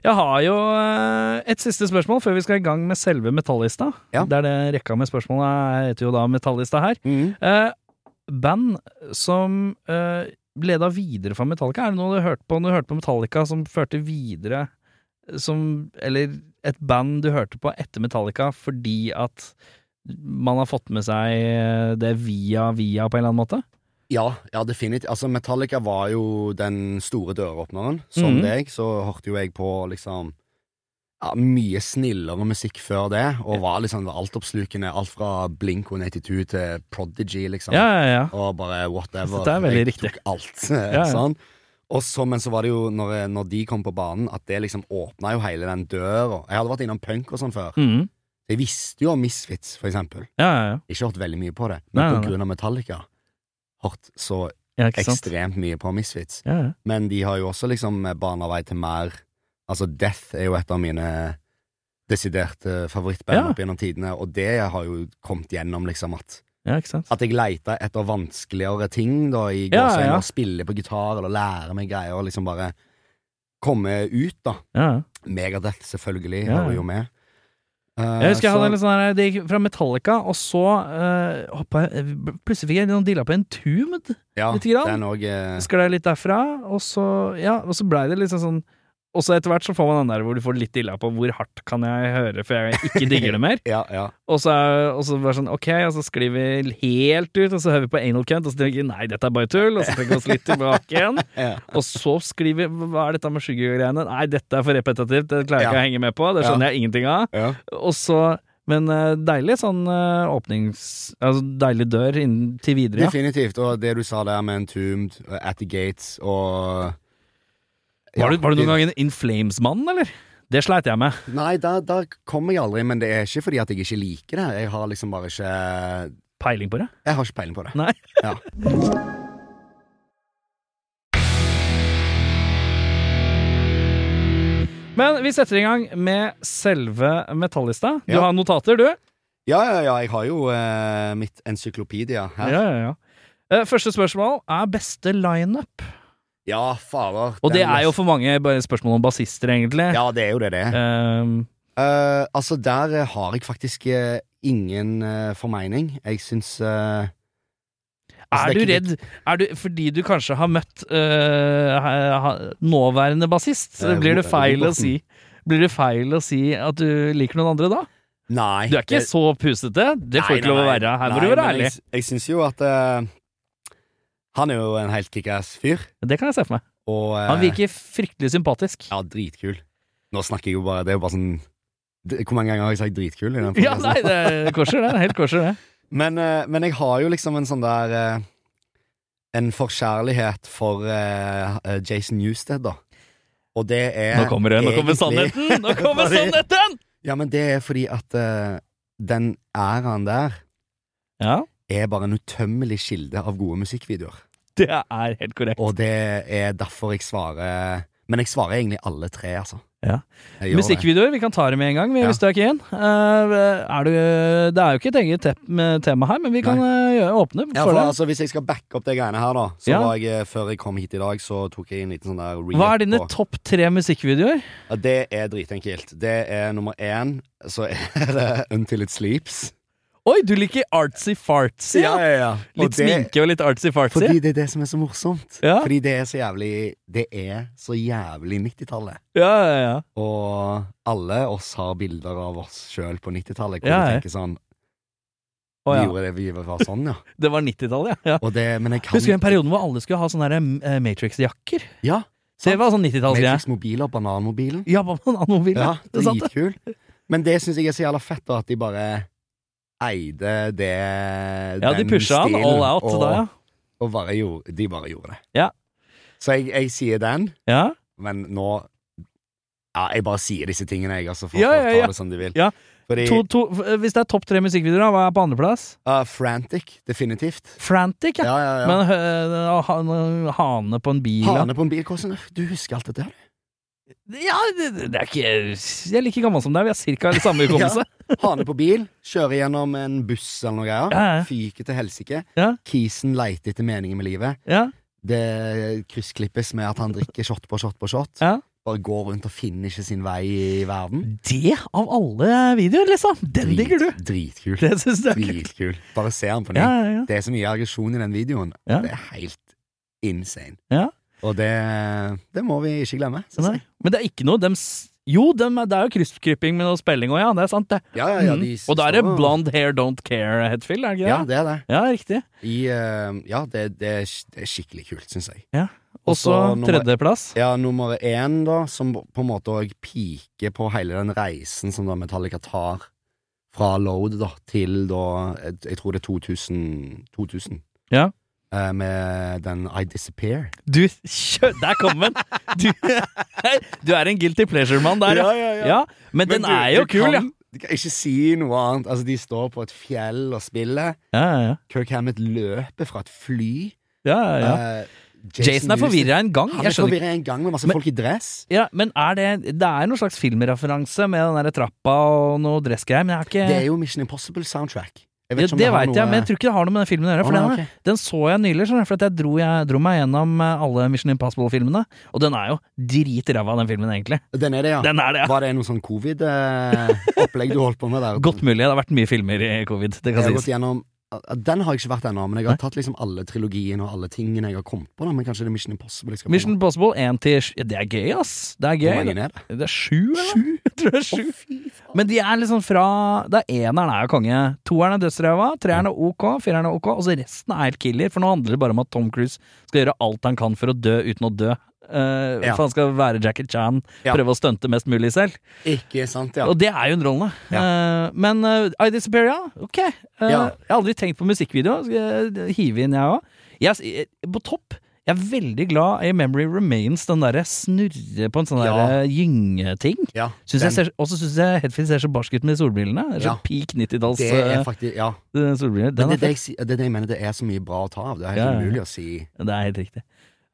Speaker 1: Jeg har jo eh, et siste spørsmål før vi skal i gang med selve metallista.
Speaker 2: Ja.
Speaker 1: Der det rekka med spørsmål er- heter jo da metallista her.
Speaker 2: Mhm.
Speaker 1: Eh, band som eh, leda videre fra Metallica, er det noe du hørte på når du hørte på Metallica som førte videre som Eller et band du hørte på etter Metallica fordi at man har fått med seg eh, det via via på en eller annen måte?
Speaker 2: Ja, ja, definitivt. Altså, Metallica var jo den store døråpneren. Som
Speaker 1: Mhm.
Speaker 2: deg, så hørte jo jeg på liksom ja, mye snillere musikk før det, og var liksom altoppslukende. Alt fra Blink 182 til Prodigy, liksom.
Speaker 1: Ja, ja, ja.
Speaker 2: og bare whatever.
Speaker 1: Så det er veldig
Speaker 2: jeg
Speaker 1: riktig.
Speaker 2: tok alt.
Speaker 1: ja.
Speaker 2: [LAUGHS] sånn. Og så, men så var det jo, når, når de kom på banen, at det liksom åpna jo hele den døra. Jeg hadde vært innom punk og sånn før.
Speaker 1: Mhm.
Speaker 2: Jeg visste jo om Misfits, for eksempel.
Speaker 1: ja, ja, ja.
Speaker 2: Ikke hørt veldig mye på det, men
Speaker 1: Nei, nei,
Speaker 2: på grunn av Metallica hørt så
Speaker 1: ja ikke sant?
Speaker 2: ekstremt mye på Misfits.
Speaker 1: Ja, ja.
Speaker 2: Men de har jo også liksom bana vei til mer Altså, Death er jo et av mine desiderte favorittband
Speaker 1: Ja.
Speaker 2: opp gjennom tidene, og det har jo kommet gjennom, liksom, at
Speaker 1: ja, ikke sant?
Speaker 2: at jeg leita etter vanskeligere ting da, i
Speaker 1: Ja,
Speaker 2: gåseøyne,
Speaker 1: ja.
Speaker 2: å spille på gitar eller lære meg greier og liksom bare komme ut, da.
Speaker 1: Ja, ja.
Speaker 2: Megadeth, selvfølgelig,
Speaker 1: Ja, ja.
Speaker 2: hører jo med. Eh,
Speaker 1: Jeg husker jeg
Speaker 2: så-
Speaker 1: hadde litt sånn her Det gikk fra Metallica, og så uh, hoppa jeg Plutselig fikk jeg noen dilla på en Entombed.
Speaker 2: ja,
Speaker 1: lite grann.
Speaker 2: Den òg eh,
Speaker 1: Sklei litt derfra, og så Ja, og så blei det liksom sånn Og så etter hvert så får man den der hvor du får litt dilla på hvor hardt kan jeg høre, for jeg ikke digger det mer.
Speaker 2: Ja, ja.
Speaker 1: Og så, er- og så bare sånn ok, og så sklir vi helt ut, og så hører vi på Anal Cunt, og så tenker vi nei, dette er bare tull, og så trekker vi oss litt tilbake igjen.
Speaker 2: ja.
Speaker 1: Og så skriver vi hva er dette med sugar-greiene? Nei, dette er for repetitivt, det klarer jeg ikke
Speaker 2: Ja.
Speaker 1: å henge med på, det skjønner jeg ingenting av.
Speaker 2: ja.
Speaker 1: Og så Men eh, deilig sånn eh, åpnings... Altså deilig dør inn til videre, ja.
Speaker 2: Definitivt. Og det du sa der med Entombed, eh, At the Gates og
Speaker 1: Var du, var du
Speaker 2: de-
Speaker 1: noen gang en In Flames-mann, eller? Det sleit jeg med.
Speaker 2: Nei, der, der kommer jeg aldri, men det er ikke fordi at jeg ikke liker det. Jeg har liksom bare ikke
Speaker 1: Peiling på det.
Speaker 2: Jeg har ikke peiling på det.
Speaker 1: Nei.
Speaker 2: Ja.
Speaker 1: Men vi setter i gang med selve metallista. Du
Speaker 2: Ja.
Speaker 1: har notater, du?
Speaker 2: Ja, ja, ja, jeg har jo eh, mitt encyklopedia her.
Speaker 1: Ja, ja, ja. Eh, Første spørsmål er beste lineup.
Speaker 2: Ja, fader.
Speaker 1: Og det
Speaker 2: den
Speaker 1: er jo
Speaker 2: lest-
Speaker 1: for mange bare spørsmål om bassister, egentlig.
Speaker 2: Ja, det er jo det det er.
Speaker 1: Ehm,
Speaker 2: Eh, altså, der eh, har jeg faktisk eh, ingen eh, formening. Jeg syns eh,
Speaker 1: er
Speaker 2: Altså,
Speaker 1: du
Speaker 2: det er
Speaker 1: redd er du, Fordi du kanskje har møtt eh, ha- ha- nåværende bassist, så
Speaker 2: Eh,
Speaker 1: blir det
Speaker 2: Ro-
Speaker 1: feil å
Speaker 2: Robertsen.
Speaker 1: si Blir det feil å si at du liker noen andre da?
Speaker 2: Nei.
Speaker 1: Du er ikke
Speaker 2: det-
Speaker 1: så pusete. Det får
Speaker 2: Nei,
Speaker 1: ikke lov å
Speaker 2: nei,
Speaker 1: være. Her må
Speaker 2: nei,
Speaker 1: du være
Speaker 2: men
Speaker 1: ærlig.
Speaker 2: Jeg, jeg syns jo at eh, han er jo en helt kickass fyr,
Speaker 1: Det kan jeg se for meg.
Speaker 2: og eh,
Speaker 1: Han virker fryktelig sympatisk.
Speaker 2: Ja, dritkul. Nå snakker jeg jo bare Det er jo bare sånn det- Hvor mange ganger har jeg sagt dritkul? I den
Speaker 1: Ja,
Speaker 2: podcasten?
Speaker 1: nei, det er korser, det. Helt korser, det.
Speaker 2: Men, eh, men jeg har jo liksom en sånn der eh, En forkjærlighet for eh, eh, Jason Newsted, da. Og det er
Speaker 1: Nå kommer det. Nå kommer
Speaker 2: egentlig-
Speaker 1: sannheten! Nå kommer
Speaker 2: Fordi-
Speaker 1: sannheten!
Speaker 2: Ja, men det er fordi at eh, den æraen der
Speaker 1: Ja,
Speaker 2: er bare en utømmelig kilde av gode musikkvideoer.
Speaker 1: det er helt korrekt.
Speaker 2: Og det er derfor jeg svarer Men jeg svarer egentlig alle tre, altså.
Speaker 1: Ja.
Speaker 2: Jeg gjør det.
Speaker 1: Musikkvideoer, vi kan ta det med en gang, vi,
Speaker 2: Ja.
Speaker 1: hvis du er keen. Eh, er du, det er jo ikke et eget tep- med tema her, men vi kan eh, gjøre, åpne
Speaker 2: Ja,
Speaker 1: for
Speaker 2: for
Speaker 1: det.
Speaker 2: altså, Hvis jeg skal backe opp de greiene her, da Så
Speaker 1: Ja.
Speaker 2: var jeg, eh, Før jeg kom hit i dag, så tok jeg en liten sånn der re-up
Speaker 1: Hva er dine
Speaker 2: på-
Speaker 1: topp tre musikkvideoer?
Speaker 2: Ja, det er dritenkelt. Det er nummer én, så er det Until It Sleeps.
Speaker 1: Oi, du liker artsy-fartsy, ja.
Speaker 2: ja, ja. Og
Speaker 1: Litt sminke og litt artsy-fartsy.
Speaker 2: Fordi det er det som er så morsomt.
Speaker 1: Ja.
Speaker 2: Fordi det er så jævlig Det er så jævlig 90-tallet.
Speaker 1: Ja, ja, ja.
Speaker 2: Og alle oss har bilder av oss sjøl på 90-tallet. Hvor
Speaker 1: Ja,
Speaker 2: vi
Speaker 1: ja.
Speaker 2: tenker sånn
Speaker 1: Å,
Speaker 2: Vi
Speaker 1: ja.
Speaker 2: gjorde det, vi var sånn, ja.
Speaker 1: Det var 90-tallet, ja. ja.
Speaker 2: Og det, men jeg kan
Speaker 1: Husker du den perioden hvor alle skulle ha sånne her, eh, Matrix-jakker?
Speaker 2: Ja.
Speaker 1: Så Det var sånn 90-tallsgreie.
Speaker 2: Matrix-mobil og bananmobilen.
Speaker 1: Ja, hva med en annen mobil?
Speaker 2: Ja,
Speaker 1: Ja, [LAUGHS] det er sant, det.
Speaker 2: dritkul. Men det syns jeg er så jævla fett, da, at de bare eide det
Speaker 1: ja, de
Speaker 2: den
Speaker 1: pusha han
Speaker 2: stilen,
Speaker 1: all out
Speaker 2: og,
Speaker 1: da, ja.
Speaker 2: og bare gjorde, de bare gjorde det.
Speaker 1: Ja.
Speaker 2: Så jeg, jeg sier den,
Speaker 1: ja.
Speaker 2: men nå Ja, jeg bare sier disse tingene, jeg, altså, for
Speaker 1: Ja,
Speaker 2: folk
Speaker 1: ja,
Speaker 2: tar
Speaker 1: ja.
Speaker 2: det som de vil.
Speaker 1: Ja.
Speaker 2: Fordi
Speaker 1: To, to, hvis det er topp tre musikkvideoer, da, hva er på andreplass?
Speaker 2: uh, Frantic, definitivt.
Speaker 1: Frantic, ja.
Speaker 2: Ja, ja, ja.
Speaker 1: Men øh, å ha- en hane på en bil ja.
Speaker 2: Hane på en bil, hvordan Du husker alt dette her?
Speaker 1: Ja, det, det er ikke Jeg er like gammel som deg, vi har cirka det [LAUGHS] samme hukommelse.
Speaker 2: Hane på bil, kjører gjennom en buss eller noe greier.
Speaker 1: Ja, ja.
Speaker 2: Fyker til helsike.
Speaker 1: Ja.
Speaker 2: Kisen leiter etter meningen med livet.
Speaker 1: ja.
Speaker 2: Det kryssklippes med at han drikker shot på shot på shot.
Speaker 1: Ja.
Speaker 2: Bare går rundt og finner ikke sin vei i verden.
Speaker 1: Det av alle videoer, liksom! Den digger du!
Speaker 2: Dritkul.
Speaker 1: Det syns jeg er kult.
Speaker 2: Dritkul. Bare se han på ny.
Speaker 1: Ja, ja, ja.
Speaker 2: Det er så mye aggresjon i den videoen.
Speaker 1: Ja.
Speaker 2: Det er helt insane.
Speaker 1: Ja.
Speaker 2: Og det, det må vi ikke glemme. synes
Speaker 1: Nei.
Speaker 2: jeg.
Speaker 1: Men det Sånn er ikke noe dem s- Jo, dem, er- det er jo krysskryping med noe spelling òg, ja. Det er sant, det.
Speaker 2: Ja, ja, ja,
Speaker 1: Mm.
Speaker 2: de
Speaker 1: Og da er det
Speaker 2: står-
Speaker 1: blonde hair don't care, Hetfield, er det
Speaker 2: Ja,
Speaker 1: ikke det?
Speaker 2: det er det.
Speaker 1: Ja, riktig.
Speaker 2: I, eh, ja, det, det, er, det er skikkelig kult, syns jeg.
Speaker 1: Og så
Speaker 2: Også nummer-
Speaker 1: tredjeplass.
Speaker 2: Ja, nummer én, da, som på en måte òg piker på hele den reisen som da Metallica tar fra Load da, til da Jeg, jeg tror det er 2000. 2000
Speaker 1: Ja.
Speaker 2: Eh, med den I Disappear.
Speaker 1: Du kjø... Der kom den! Du, du er en guilty pleasure-mann der, ja. ja. Men, den
Speaker 2: du-
Speaker 1: er jo
Speaker 2: du
Speaker 1: kul, ja.
Speaker 2: kan- Du kan ikke si noe annet. Altså, de står på et fjell og spiller.
Speaker 1: Ja, ja, ja.
Speaker 2: Kirk Hammett løper fra et fly.
Speaker 1: ja, ja, ja.
Speaker 2: Eh,
Speaker 1: Jason er
Speaker 2: Newsted-
Speaker 1: forvirra en gang.
Speaker 2: Han er
Speaker 1: Jeg skjønner ikke.
Speaker 2: forvirra en gang med masse
Speaker 1: Men-
Speaker 2: folk i dress.
Speaker 1: Ja, men er det, det er noen slags filmreferanse med den der trappa og noe dressgreier, men jeg er ikke
Speaker 2: Det er jo Mission Impossible-soundtrack. Jeg
Speaker 1: ja,
Speaker 2: ikke om
Speaker 1: det
Speaker 2: har
Speaker 1: veit jeg, men jeg tror ikke det har noe med den filmen å gjøre.
Speaker 2: Å,
Speaker 1: For
Speaker 2: nei,
Speaker 1: den,
Speaker 2: ok.
Speaker 1: den så jeg nylig, skjønner du, for at jeg dro, jeg dro meg gjennom eh, alle Mission Impossible-filmene. Og den er jo dritræva, den filmen, egentlig.
Speaker 2: Den er det, ja.
Speaker 1: Den er det, ja.
Speaker 2: Var det noe sånn covid-opplegg du holdt på med der?
Speaker 1: [LAUGHS] Godt mulig. Det har vært mye filmer i covid, det
Speaker 2: Jeg
Speaker 1: kan
Speaker 2: har
Speaker 1: sies.
Speaker 2: gått gjennom Den har jeg ikke vært ennå, men jeg har tatt liksom alle trilogiene og alle tingene jeg har kommet på. da Men kanskje det er Mission Impossible jeg skal
Speaker 1: Mission Impossible 1 til 7. Det er gøy, ass. Det er
Speaker 2: på. Hvor
Speaker 1: gøy.
Speaker 2: mange er det?
Speaker 1: Det, det er sju, eller? [LAUGHS] Jeg tror det er sju. Men de er liksom fra Det er eneren er jo konge. Toeren er dødsræva, treeren er ok, fireren er ok, og så resten er helt killer. For nå handler det bare om at Tom Cruise skal gjøre alt han kan for å dø uten å dø. Eh,
Speaker 2: Ja.
Speaker 1: For han skal være Jackie Chan,
Speaker 2: Ja.
Speaker 1: prøve å stunte mest mulig selv.
Speaker 2: Ikke sant, ja.
Speaker 1: Og det er jo underholdende. Eh, men eh, I Disappear, ja. Ok. Eh,
Speaker 2: Ja.
Speaker 1: Jeg har aldri tenkt på musikkvideo. Skal jeg hive inn, jeg òg. Jeg s- eh, På topp jeg er veldig glad i Memory Remains, den derre snurre på en sånn
Speaker 2: Ja.
Speaker 1: derre gyngeting.
Speaker 2: ja
Speaker 1: Syns
Speaker 2: den-
Speaker 1: jeg ser- Også syns jeg Hetfield ser så barsk ut med de solbrillene. Det er så
Speaker 2: Ja.
Speaker 1: peak 90-talls
Speaker 2: det
Speaker 1: eh,
Speaker 2: er faktisk Ja.
Speaker 1: eh, solbriller. Den
Speaker 2: Men
Speaker 1: er
Speaker 2: det, er det,
Speaker 1: fett.
Speaker 2: jeg, si- det er det jeg mener, det er så mye bra å ta av. Det er helt
Speaker 1: Ja, Eh. ja, ja.
Speaker 2: umulig å si.
Speaker 1: Det er helt riktig.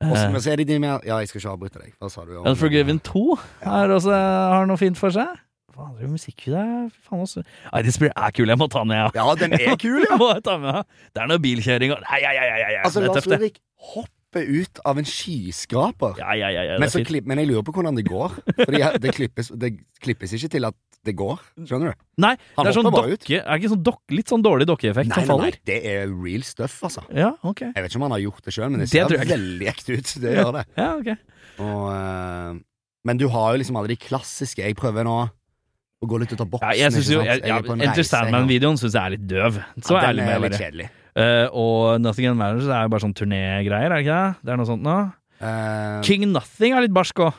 Speaker 2: Og så-
Speaker 1: Eh,
Speaker 2: men så er det de mer Ja, jeg skal ikke avbryte deg. Hva sa du? om-
Speaker 1: Unforgiven 2 er også, eh, har noe fint for seg. Hva andre musikkvideo er Fy faen også. Nei, det spiller- er kul, jeg må ta den, jeg òg.
Speaker 2: Ja, den er kul, ja!
Speaker 1: [LAUGHS] Må jeg ta med, ja. Det er noe bilkjøring og Nei, ja, ja, ja, ja, ja.
Speaker 2: Altså,
Speaker 1: det er
Speaker 2: Lars
Speaker 1: tøft, det.
Speaker 2: Ulrik hopper ut av en skyskraper.
Speaker 1: Ja, ja, ja, ja, det
Speaker 2: Men,
Speaker 1: er
Speaker 2: så
Speaker 1: fint.
Speaker 2: klipp, men jeg lurer på hvordan det går. Fordi jeg- det klippes, det klippes ikke til at det går. Skjønner du?
Speaker 1: Nei,
Speaker 2: Han
Speaker 1: det er sånn
Speaker 2: hopper
Speaker 1: dokke,
Speaker 2: bare ut.
Speaker 1: er det ikke sånn dok, litt sånn dårlig dokkeeffekt
Speaker 2: Nei,
Speaker 1: som
Speaker 2: nei, nei,
Speaker 1: faller.
Speaker 2: det er real stuff, altså.
Speaker 1: Ja, ok.
Speaker 2: Jeg vet ikke om han har gjort det sjøl, men
Speaker 1: Det
Speaker 2: det ser
Speaker 1: tror jeg ikke.
Speaker 2: veldig ekte ut. Det gjør det.
Speaker 1: Ja, ok.
Speaker 2: Og, eh, men du har jo liksom alle de klassiske. Jeg prøver nå å gå litt ut av boksen.
Speaker 1: Ja, jeg synes
Speaker 2: ikke
Speaker 1: jo
Speaker 2: sant?
Speaker 1: jeg, ja,
Speaker 2: er på en
Speaker 1: Enter
Speaker 2: reise, jeg nå.
Speaker 1: Sandman-videoen syns jeg er litt døv. Så
Speaker 2: Ja, den
Speaker 1: ærlig
Speaker 2: er
Speaker 1: med
Speaker 2: litt
Speaker 1: dere.
Speaker 2: kjedelig.
Speaker 1: Eh, og Nothing Else Matters er jo bare sånn turnégreier, er det ikke det? Det er noe sånt nå.
Speaker 2: Eh, King,
Speaker 1: King Nothing er litt barsk òg.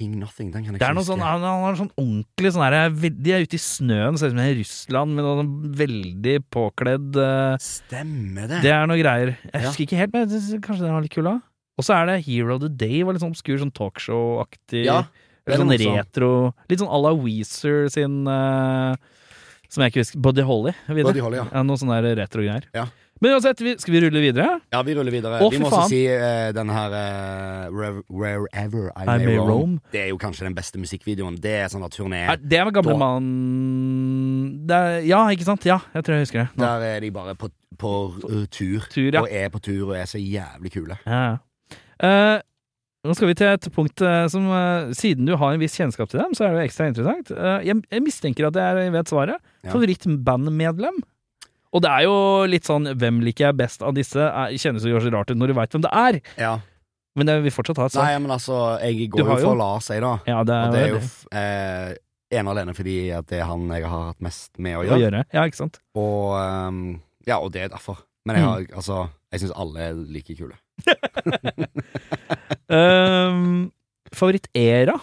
Speaker 2: Nothing, den kan jeg
Speaker 1: Det
Speaker 2: ikke
Speaker 1: er noe
Speaker 2: huske.
Speaker 1: sånn, han, han har sånn ordentlig sånn her veld- De er ute i snøen, ser ut som i Russland, med noe sånn veldig påkledd eh,
Speaker 2: Stemmer det.
Speaker 1: Det er noe greier. Jeg
Speaker 2: Ja.
Speaker 1: husker ikke helt, men jeg synes kanskje den var litt kul da. Og så er det Hero of the Day, var litt sånn obskur, sånn talkshow-aktig.
Speaker 2: Ja, det er
Speaker 1: Eller sånn
Speaker 2: noe sånn.
Speaker 1: retro. Litt sånn à la Weezer sin eh, Som jeg ikke husker. Body Holly. vet du?
Speaker 2: Buddy Holly, ja.
Speaker 1: Ja, noe sånn der retro-greier.
Speaker 2: Ja.
Speaker 1: Men uansett, vi, skal vi rulle videre?
Speaker 2: ja, vi ruller videre.
Speaker 1: Å,
Speaker 2: vi
Speaker 1: fy
Speaker 2: må
Speaker 1: faen.
Speaker 2: også si eh, den her eh, Where- Wherever I, May, roam. Det er jo kanskje den beste musikkvideoen. Det er sånn at turné
Speaker 1: Er det med gamle
Speaker 2: Da-
Speaker 1: mann det er, Ja, ikke sant? Ja, jeg tror jeg husker det. Nå.
Speaker 2: Der er de bare på, på uh, tur,
Speaker 1: Tur, ja.
Speaker 2: og er på tur og er så jævlig kule.
Speaker 1: Ja, ja. Eh, nå skal vi til et punkt eh, som eh, Siden du har en viss kjennskap til dem, så er det jo ekstra interessant. Eh, jeg, jeg mistenker at jeg vet svaret.
Speaker 2: Ja.
Speaker 1: Favorittbandmedlem? Og det er jo litt sånn hvem liker jeg best av disse? Er- Kjennes jo kanskje rart ut når du veit hvem det er,
Speaker 2: Ja.
Speaker 1: men jeg vil fortsatt ha et svar.
Speaker 2: Nei, men altså, jeg
Speaker 1: Du
Speaker 2: går jo
Speaker 1: har jo-
Speaker 2: for Lars, jeg, da.
Speaker 1: Ja, det
Speaker 2: Og det er jo
Speaker 1: det
Speaker 2: f- eh, ene og alene fordi at det er han jeg har hatt mest med å
Speaker 1: å
Speaker 2: gjøre.
Speaker 1: gjøre. Ja, ikke sant.
Speaker 2: Og ehm, Ja, og det er derfor. Men
Speaker 1: Mm.
Speaker 2: jeg har altså Jeg syns alle er like kule.
Speaker 1: Ehm, favorittera?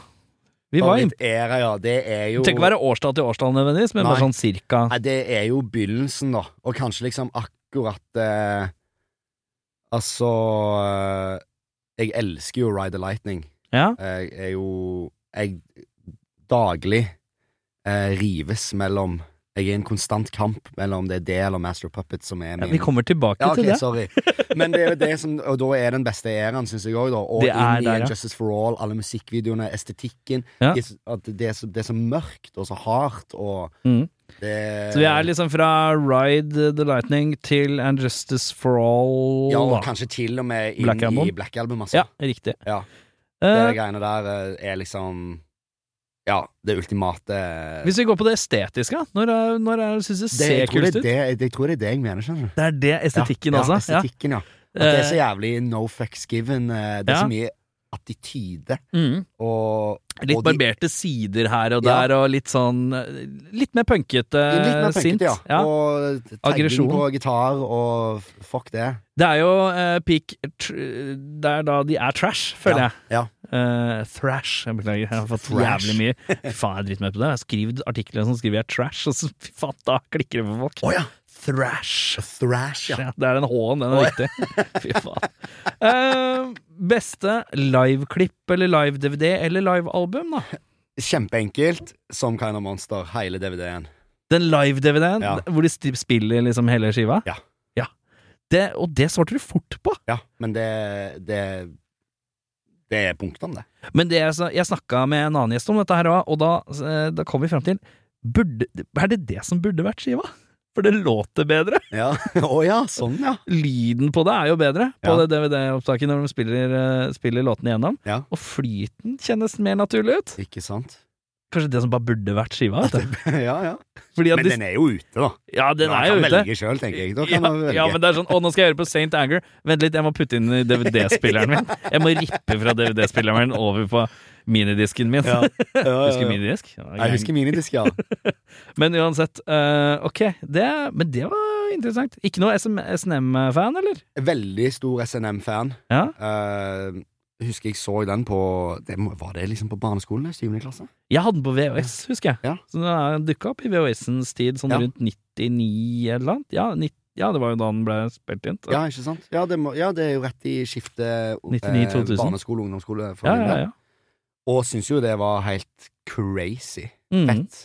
Speaker 1: Vi var inne
Speaker 2: Favorittera, ja. Det er jo
Speaker 1: Det trenger ikke være årstall til årstall nødvendigvis, men bare
Speaker 2: Nei.
Speaker 1: sånn cirka.
Speaker 2: Nei, det er jo begynnelsen, da. Og kanskje liksom akkurat eh, Altså eh, Jeg elsker jo Ride the Lightning.
Speaker 1: Ja.
Speaker 2: Jeg er jo Jeg daglig eh, rives mellom Jeg er i en konstant kamp mellom det er det eller Master of Puppets som er
Speaker 1: ja,
Speaker 2: min
Speaker 1: vi kommer tilbake
Speaker 2: Ja, ok,
Speaker 1: til det.
Speaker 2: sorry. Men det er jo det som Og da er den beste æraen, syns jeg òg, da. Og
Speaker 1: Det er
Speaker 2: inn i
Speaker 1: der, ja.
Speaker 2: en Justice for All, alle musikkvideoene, estetikken.
Speaker 1: Ja.
Speaker 2: Det, er så- at det, er så, det er så mørkt og så hardt, og
Speaker 1: Mm.
Speaker 2: det
Speaker 1: Så vi er liksom fra Ride the Lightning til And Justice for All.
Speaker 2: Ja,
Speaker 1: da.
Speaker 2: og kanskje til og med inn
Speaker 1: Black Album.
Speaker 2: i Black Album, altså.
Speaker 1: ja riktig.
Speaker 2: Ja. Det
Speaker 1: Eh,
Speaker 2: der greiene der eh, er liksom Ja, det ultimate
Speaker 1: hvis vi går på det estetiske, da. når, er- når er det du syns det
Speaker 2: det,
Speaker 1: ser
Speaker 2: jeg, tror det,
Speaker 1: kulest
Speaker 2: er
Speaker 1: ut?
Speaker 2: det, jeg, jeg tror det er det jeg mener, skjønner du.
Speaker 1: Det er det estetikken,
Speaker 2: ja,
Speaker 1: altså.
Speaker 2: Ja, estetikken, ja. At det er så
Speaker 1: Eh,
Speaker 2: jævlig no fucks given. eh, Det er
Speaker 1: ja.
Speaker 2: så mye attityde
Speaker 1: mm.
Speaker 2: og
Speaker 1: Litt
Speaker 2: og de-
Speaker 1: barberte sider her og
Speaker 2: Ja.
Speaker 1: der, og litt sånn eh, Litt mer punkete
Speaker 2: Litt mer
Speaker 1: sint.
Speaker 2: punkete, ja.
Speaker 1: Ja.
Speaker 2: Og
Speaker 1: Aggresjon.
Speaker 2: tagging på gitar og f- fuck det.
Speaker 1: Det er jo eh, peak tr Det er da de er trash, føler
Speaker 2: ja.
Speaker 1: jeg.
Speaker 2: Ja.
Speaker 1: Eh, thrash. Jeg beklager, jeg har fått
Speaker 2: Thrash.
Speaker 1: jævlig mye. Fy faen, jeg er dritmett på det. Jeg har skrevet artikler som skriver jeg trash, og så fy faen, da klikker det for folk.
Speaker 2: Å ja!
Speaker 1: Thrash.
Speaker 2: Thrash, ja.
Speaker 1: Ja, det er den H-en, den er viktig. [LAUGHS] Fy faen. Eh, beste liveklipp eller live-DVD eller livealbum, da?
Speaker 2: Kjempeenkelt. Som Kind of Monster. Hele DVD-en.
Speaker 1: Den live-DVD-en
Speaker 2: Ja.
Speaker 1: hvor de sti- spiller liksom hele skiva?
Speaker 2: Ja.
Speaker 1: Det, og det svarte du fort på!
Speaker 2: Ja, men det Det, det er punktene, det.
Speaker 1: Men det jeg, sa- jeg snakka med en annen gjest om dette her også, og da, eh, da kom vi fram til burde, Er det det som burde vært skiva? For det låter bedre.
Speaker 2: Ja. [LAUGHS] Å ja, sånn, ja.
Speaker 1: Lyden på det er jo bedre på
Speaker 2: Ja.
Speaker 1: det DVD-opptaket når de spiller, eh, spiller låtene igjennom.
Speaker 2: Ja.
Speaker 1: Og flyten kjennes mer naturlig ut.
Speaker 2: Ikke sant?
Speaker 1: Kanskje det som bare burde vært skiva. Vet du.
Speaker 2: [LAUGHS] ja, ja.
Speaker 1: Fordi at
Speaker 2: Men
Speaker 1: de-
Speaker 2: den er jo ute, da.
Speaker 1: ja, den
Speaker 2: Man
Speaker 1: er jo
Speaker 2: kan
Speaker 1: ute.
Speaker 2: velge sjøl, tenker jeg. Da
Speaker 1: Ja,
Speaker 2: kan man velge.
Speaker 1: ja, men det er sånn Å, nå skal jeg høre på St. Anger. Vent litt, jeg må putte inn i DVD-spilleren min. Jeg må rippe fra DVD-spilleren min over på minidisken min. [LAUGHS]
Speaker 2: [LAUGHS] Ja.
Speaker 1: Husker du minidisk? Ja,
Speaker 2: Jeg husker minidisk, ja.
Speaker 1: Men uansett, eh, ok. Det, men det var interessant. Ikke noe SM SNM-fan, eller?
Speaker 2: [LAUGHS] Veldig stor SNM-fan.
Speaker 1: Ja.
Speaker 2: Eh, husker jeg så den på det, må- Var det liksom på barneskolen? i Syvende klasse?
Speaker 1: Jeg hadde den på VHS, husker jeg.
Speaker 2: Ja.
Speaker 1: Så den dukka opp i VHS-ens tid, sånn
Speaker 2: Ja.
Speaker 1: rundt 99 eller noe. Ja, 90, ja, det var jo da den ble spilt inn. så-
Speaker 2: Ja, ikke sant? Ja, det, må, ja, det er jo rett i skiftet eh,
Speaker 1: 99-2000.
Speaker 2: barneskole og ungdomsskole. for
Speaker 1: ja,
Speaker 2: min
Speaker 1: ja.
Speaker 2: del.
Speaker 1: ja.
Speaker 2: Og syns jo det var helt crazy
Speaker 1: Mhm.
Speaker 2: fett.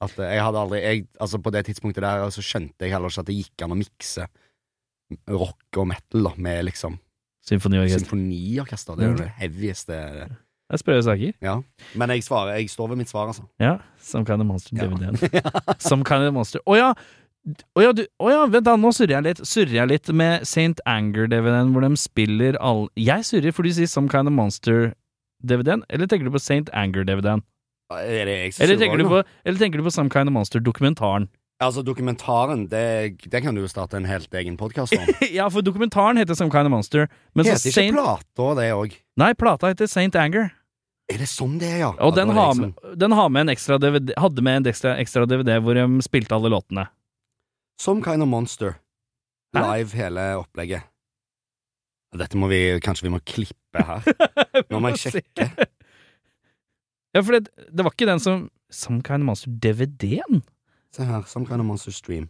Speaker 2: At eh, jeg hadde aldri jeg, Altså På det tidspunktet der så skjønte jeg heller ikke at det gikk an å mikse rock og metal da med liksom
Speaker 1: Symfoniorkester.
Speaker 2: symfoniorkester. Det er
Speaker 1: Mhm.
Speaker 2: jo det heavieste
Speaker 1: Det er sprø saker.
Speaker 2: Ja. Men jeg, svarer, jeg står ved mitt svar, altså.
Speaker 1: Ja. Some Kind of Monster
Speaker 2: [LAUGHS] Ja.
Speaker 1: DVD-en. Some Kind of Monster. Å ja! Å ja, du, å ja, vent da, nå surrer jeg litt Surrer jeg litt med St. Anger-DVD-en hvor de spiller all... Jeg surrer fordi du sier Some Kind of Monster-DVD-en, eller tenker du på St. Anger-DVD-en?
Speaker 2: Er det jeg som
Speaker 1: Eller,
Speaker 2: surrer
Speaker 1: tenker du
Speaker 2: nå?
Speaker 1: på- eller tenker du på Some Kind of Monster-dokumentaren?
Speaker 2: Altså, dokumentaren, det, det kan du jo starte en helt egen podkast
Speaker 1: [LAUGHS]
Speaker 2: om.
Speaker 1: ja, for dokumentaren heter Some Kind of Monster, men så
Speaker 2: Heter ikke
Speaker 1: Saint...
Speaker 2: plata det òg?
Speaker 1: Nei, plata heter St. Anger.
Speaker 2: Er det sånn det er, ja?
Speaker 1: Og
Speaker 2: Ja,
Speaker 1: den,
Speaker 2: da er det
Speaker 1: har
Speaker 2: jeg som-
Speaker 1: med, den har med en ekstra DVD, hadde med en ekstra, ekstra DVD hvor de spilte alle låtene.
Speaker 2: Some Kind of Monster.
Speaker 1: Hæ?
Speaker 2: Live hele opplegget. Dette må vi kanskje vi må klippe her.
Speaker 1: [LAUGHS]
Speaker 2: Nå må jeg sjekke.
Speaker 1: Ja, for det, det var ikke den som Some Kind of Monster-DVD-en?
Speaker 2: Se her. Some Kind of Monster Stream.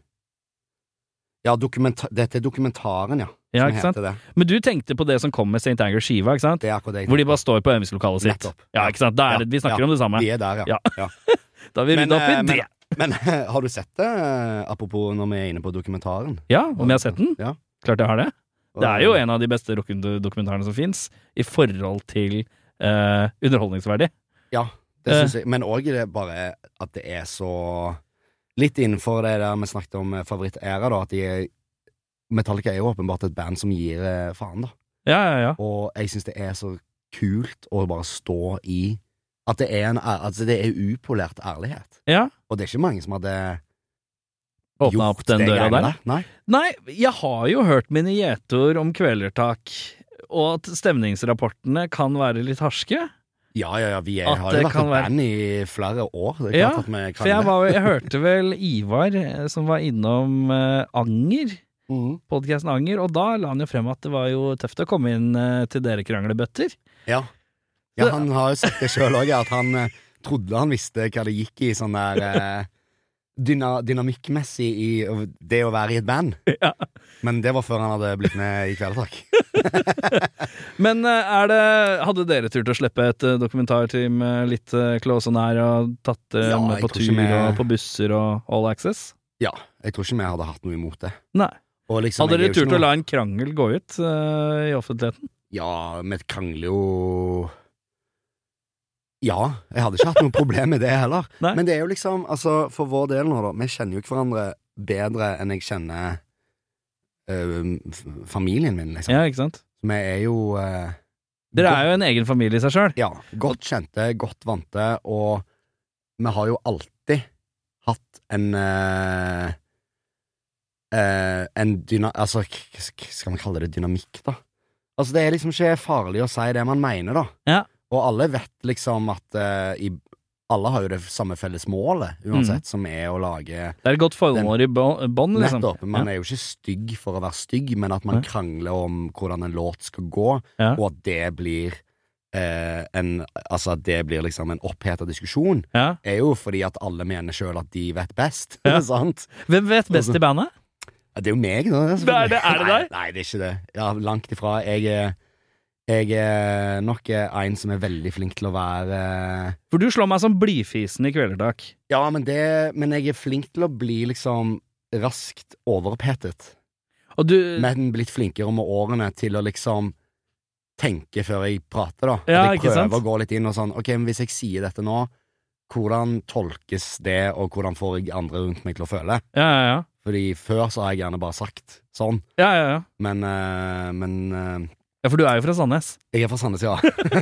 Speaker 2: Ja, dokumenta dette er dokumentaren, ja.
Speaker 1: Ja,
Speaker 2: som
Speaker 1: ikke sant?
Speaker 2: heter det.
Speaker 1: Men du tenkte på det som kom med St. Anger-skiva, ikke sant?
Speaker 2: Det er akkurat det jeg
Speaker 1: Hvor de
Speaker 2: tenker
Speaker 1: bare står på øvingslokalet sitt.
Speaker 2: Nettopp.
Speaker 1: Ja, ikke sant? Da er
Speaker 2: Ja,
Speaker 1: det, vi snakker
Speaker 2: ja.
Speaker 1: om det
Speaker 2: på.
Speaker 1: samme.
Speaker 2: Vi er der,
Speaker 1: Ja.
Speaker 2: ja. ja.
Speaker 1: Da har vi
Speaker 2: Men,
Speaker 1: rydda opp i
Speaker 2: eh, men-
Speaker 1: det.
Speaker 2: Men eh, har du sett det, eh, apropos når vi er inne på dokumentaren?
Speaker 1: Ja, om jeg har sett den?
Speaker 2: Ja.
Speaker 1: Klart jeg har det.
Speaker 2: Og-
Speaker 1: Det er jo en av de beste rock- dokumentarene som fins, i forhold til eh, underholdningsverdig.
Speaker 2: Ja, det
Speaker 1: eh,
Speaker 2: syns jeg. Men òg det bare at det er så Litt innenfor det der vi snakket om eh, favorittæra, da, at de er Metallica er jo åpenbart et band som gir eh, faen, da.
Speaker 1: Ja, ja, ja.
Speaker 2: Og jeg syns det er så kult å bare stå i At det er en æ- altså det er upolert ærlighet.
Speaker 1: Ja.
Speaker 2: Og det er ikke mange som hadde gjort
Speaker 1: Åpna opp den
Speaker 2: det
Speaker 1: døra
Speaker 2: greiene
Speaker 1: der.
Speaker 2: Nei.
Speaker 1: Nei, jeg har jo hørt mine gjetord om kvelertak, og at stemningsrapportene kan være litt harske.
Speaker 2: Ja, ja, ja, vi er,
Speaker 1: At
Speaker 2: har
Speaker 1: det
Speaker 2: jo vært
Speaker 1: kan
Speaker 2: et
Speaker 1: være-
Speaker 2: band i flere år. Det er
Speaker 1: Ja,
Speaker 2: klart at vi kan
Speaker 1: For jeg,
Speaker 2: det.
Speaker 1: var, jeg hørte vel Ivar eh, som var innom eh, Anger, Mm.
Speaker 2: Mhm.
Speaker 1: podkasten Anger, og da la han jo frem at det var jo tøft å komme inn eh, til dere kranglebøtter.
Speaker 2: Ja. ja, han har jo sagt det sjøl òg, at han eh, trodde han visste hva det gikk i sånn der eh, dyna, Dynamikkmessig i det å være i et band.
Speaker 1: [LAUGHS] Ja.
Speaker 2: Men det var før han hadde blitt med i Kvelertak.
Speaker 1: Men eh, er det, hadde dere turt å slippe et eh, dokumentarteam eh, litt eh, Clauson her, og tatt det
Speaker 2: Ja,
Speaker 1: med
Speaker 2: jeg
Speaker 1: på
Speaker 2: tror
Speaker 1: tur
Speaker 2: ikke vi-
Speaker 1: og på busser og all access?
Speaker 2: Ja, jeg tror ikke vi hadde hatt noe imot det.
Speaker 1: Nei.
Speaker 2: Og liksom,
Speaker 1: Hadde
Speaker 2: jeg er
Speaker 1: dere
Speaker 2: jo ikke
Speaker 1: turt å
Speaker 2: noe-
Speaker 1: la en krangel gå ut eh, i offentligheten?
Speaker 2: Ja, vi krangler jo Ja, jeg hadde ikke hatt noe problem med det heller.
Speaker 1: [LAUGHS] Nei.
Speaker 2: Men det er jo liksom, altså, for vår del nå, da, vi kjenner jo ikke hverandre bedre enn jeg kjenner øhm, f- familien min, liksom.
Speaker 1: Ja, ikke sant?
Speaker 2: Vi er jo eh,
Speaker 1: Dere er jo en egen familie i seg sjøl.
Speaker 2: Ja, godt kjente, godt vante, og vi har jo alltid hatt en eh, eh, En dyna... Altså, k- k- skal vi kalle det dynamikk, da? Altså, det er liksom ikke farlig å si det man mener, da.
Speaker 1: Ja.
Speaker 2: Og alle vet liksom at eh, i, Alle har jo det samme felles målet, uansett,
Speaker 1: Mm.
Speaker 2: som er å lage
Speaker 1: Det er et godt formål i bå- bånd, liksom.
Speaker 2: Nettopp. Man
Speaker 1: ja.
Speaker 2: er jo ikke stygg for å være stygg, men at
Speaker 1: Nei.
Speaker 2: man krangler om hvordan en låt skal gå,
Speaker 1: Ja.
Speaker 2: og at det blir eh, en Altså at det blir liksom en oppheta diskusjon,
Speaker 1: Ja.
Speaker 2: er jo fordi at alle mener sjøl at de vet best. [LAUGHS]
Speaker 1: Ja.
Speaker 2: sant?
Speaker 1: Hvem vet best
Speaker 2: Altså-
Speaker 1: i bandet?
Speaker 2: Ja, Det er jo meg, da.
Speaker 1: Det er det- er det
Speaker 2: Nei,
Speaker 1: deg?
Speaker 2: nei, det er ikke det. Ja, langt ifra. Jeg er, jeg er nok eh, en som er veldig flink til å være eh,
Speaker 1: For du slår meg som blidfisen i Kvelertak.
Speaker 2: Ja, men, det, men jeg er flink til å bli liksom raskt overopphetet.
Speaker 1: Og du
Speaker 2: men blitt flinkere med årene til å liksom tenke før jeg prater, da.
Speaker 1: Ja,
Speaker 2: at jeg
Speaker 1: ikke sant?
Speaker 2: prøver å gå litt inn og sånn Ok, men hvis jeg sier dette nå, hvordan tolkes det, og hvordan får jeg andre rundt meg til å føle?
Speaker 1: Ja, ja, ja.
Speaker 2: Fordi før så har jeg gjerne bare sagt sånn,
Speaker 1: Ja, ja, ja.
Speaker 2: men, eh, men eh,
Speaker 1: ja for du er jo fra Sandnes.
Speaker 2: Jeg er fra Sandnes, ja.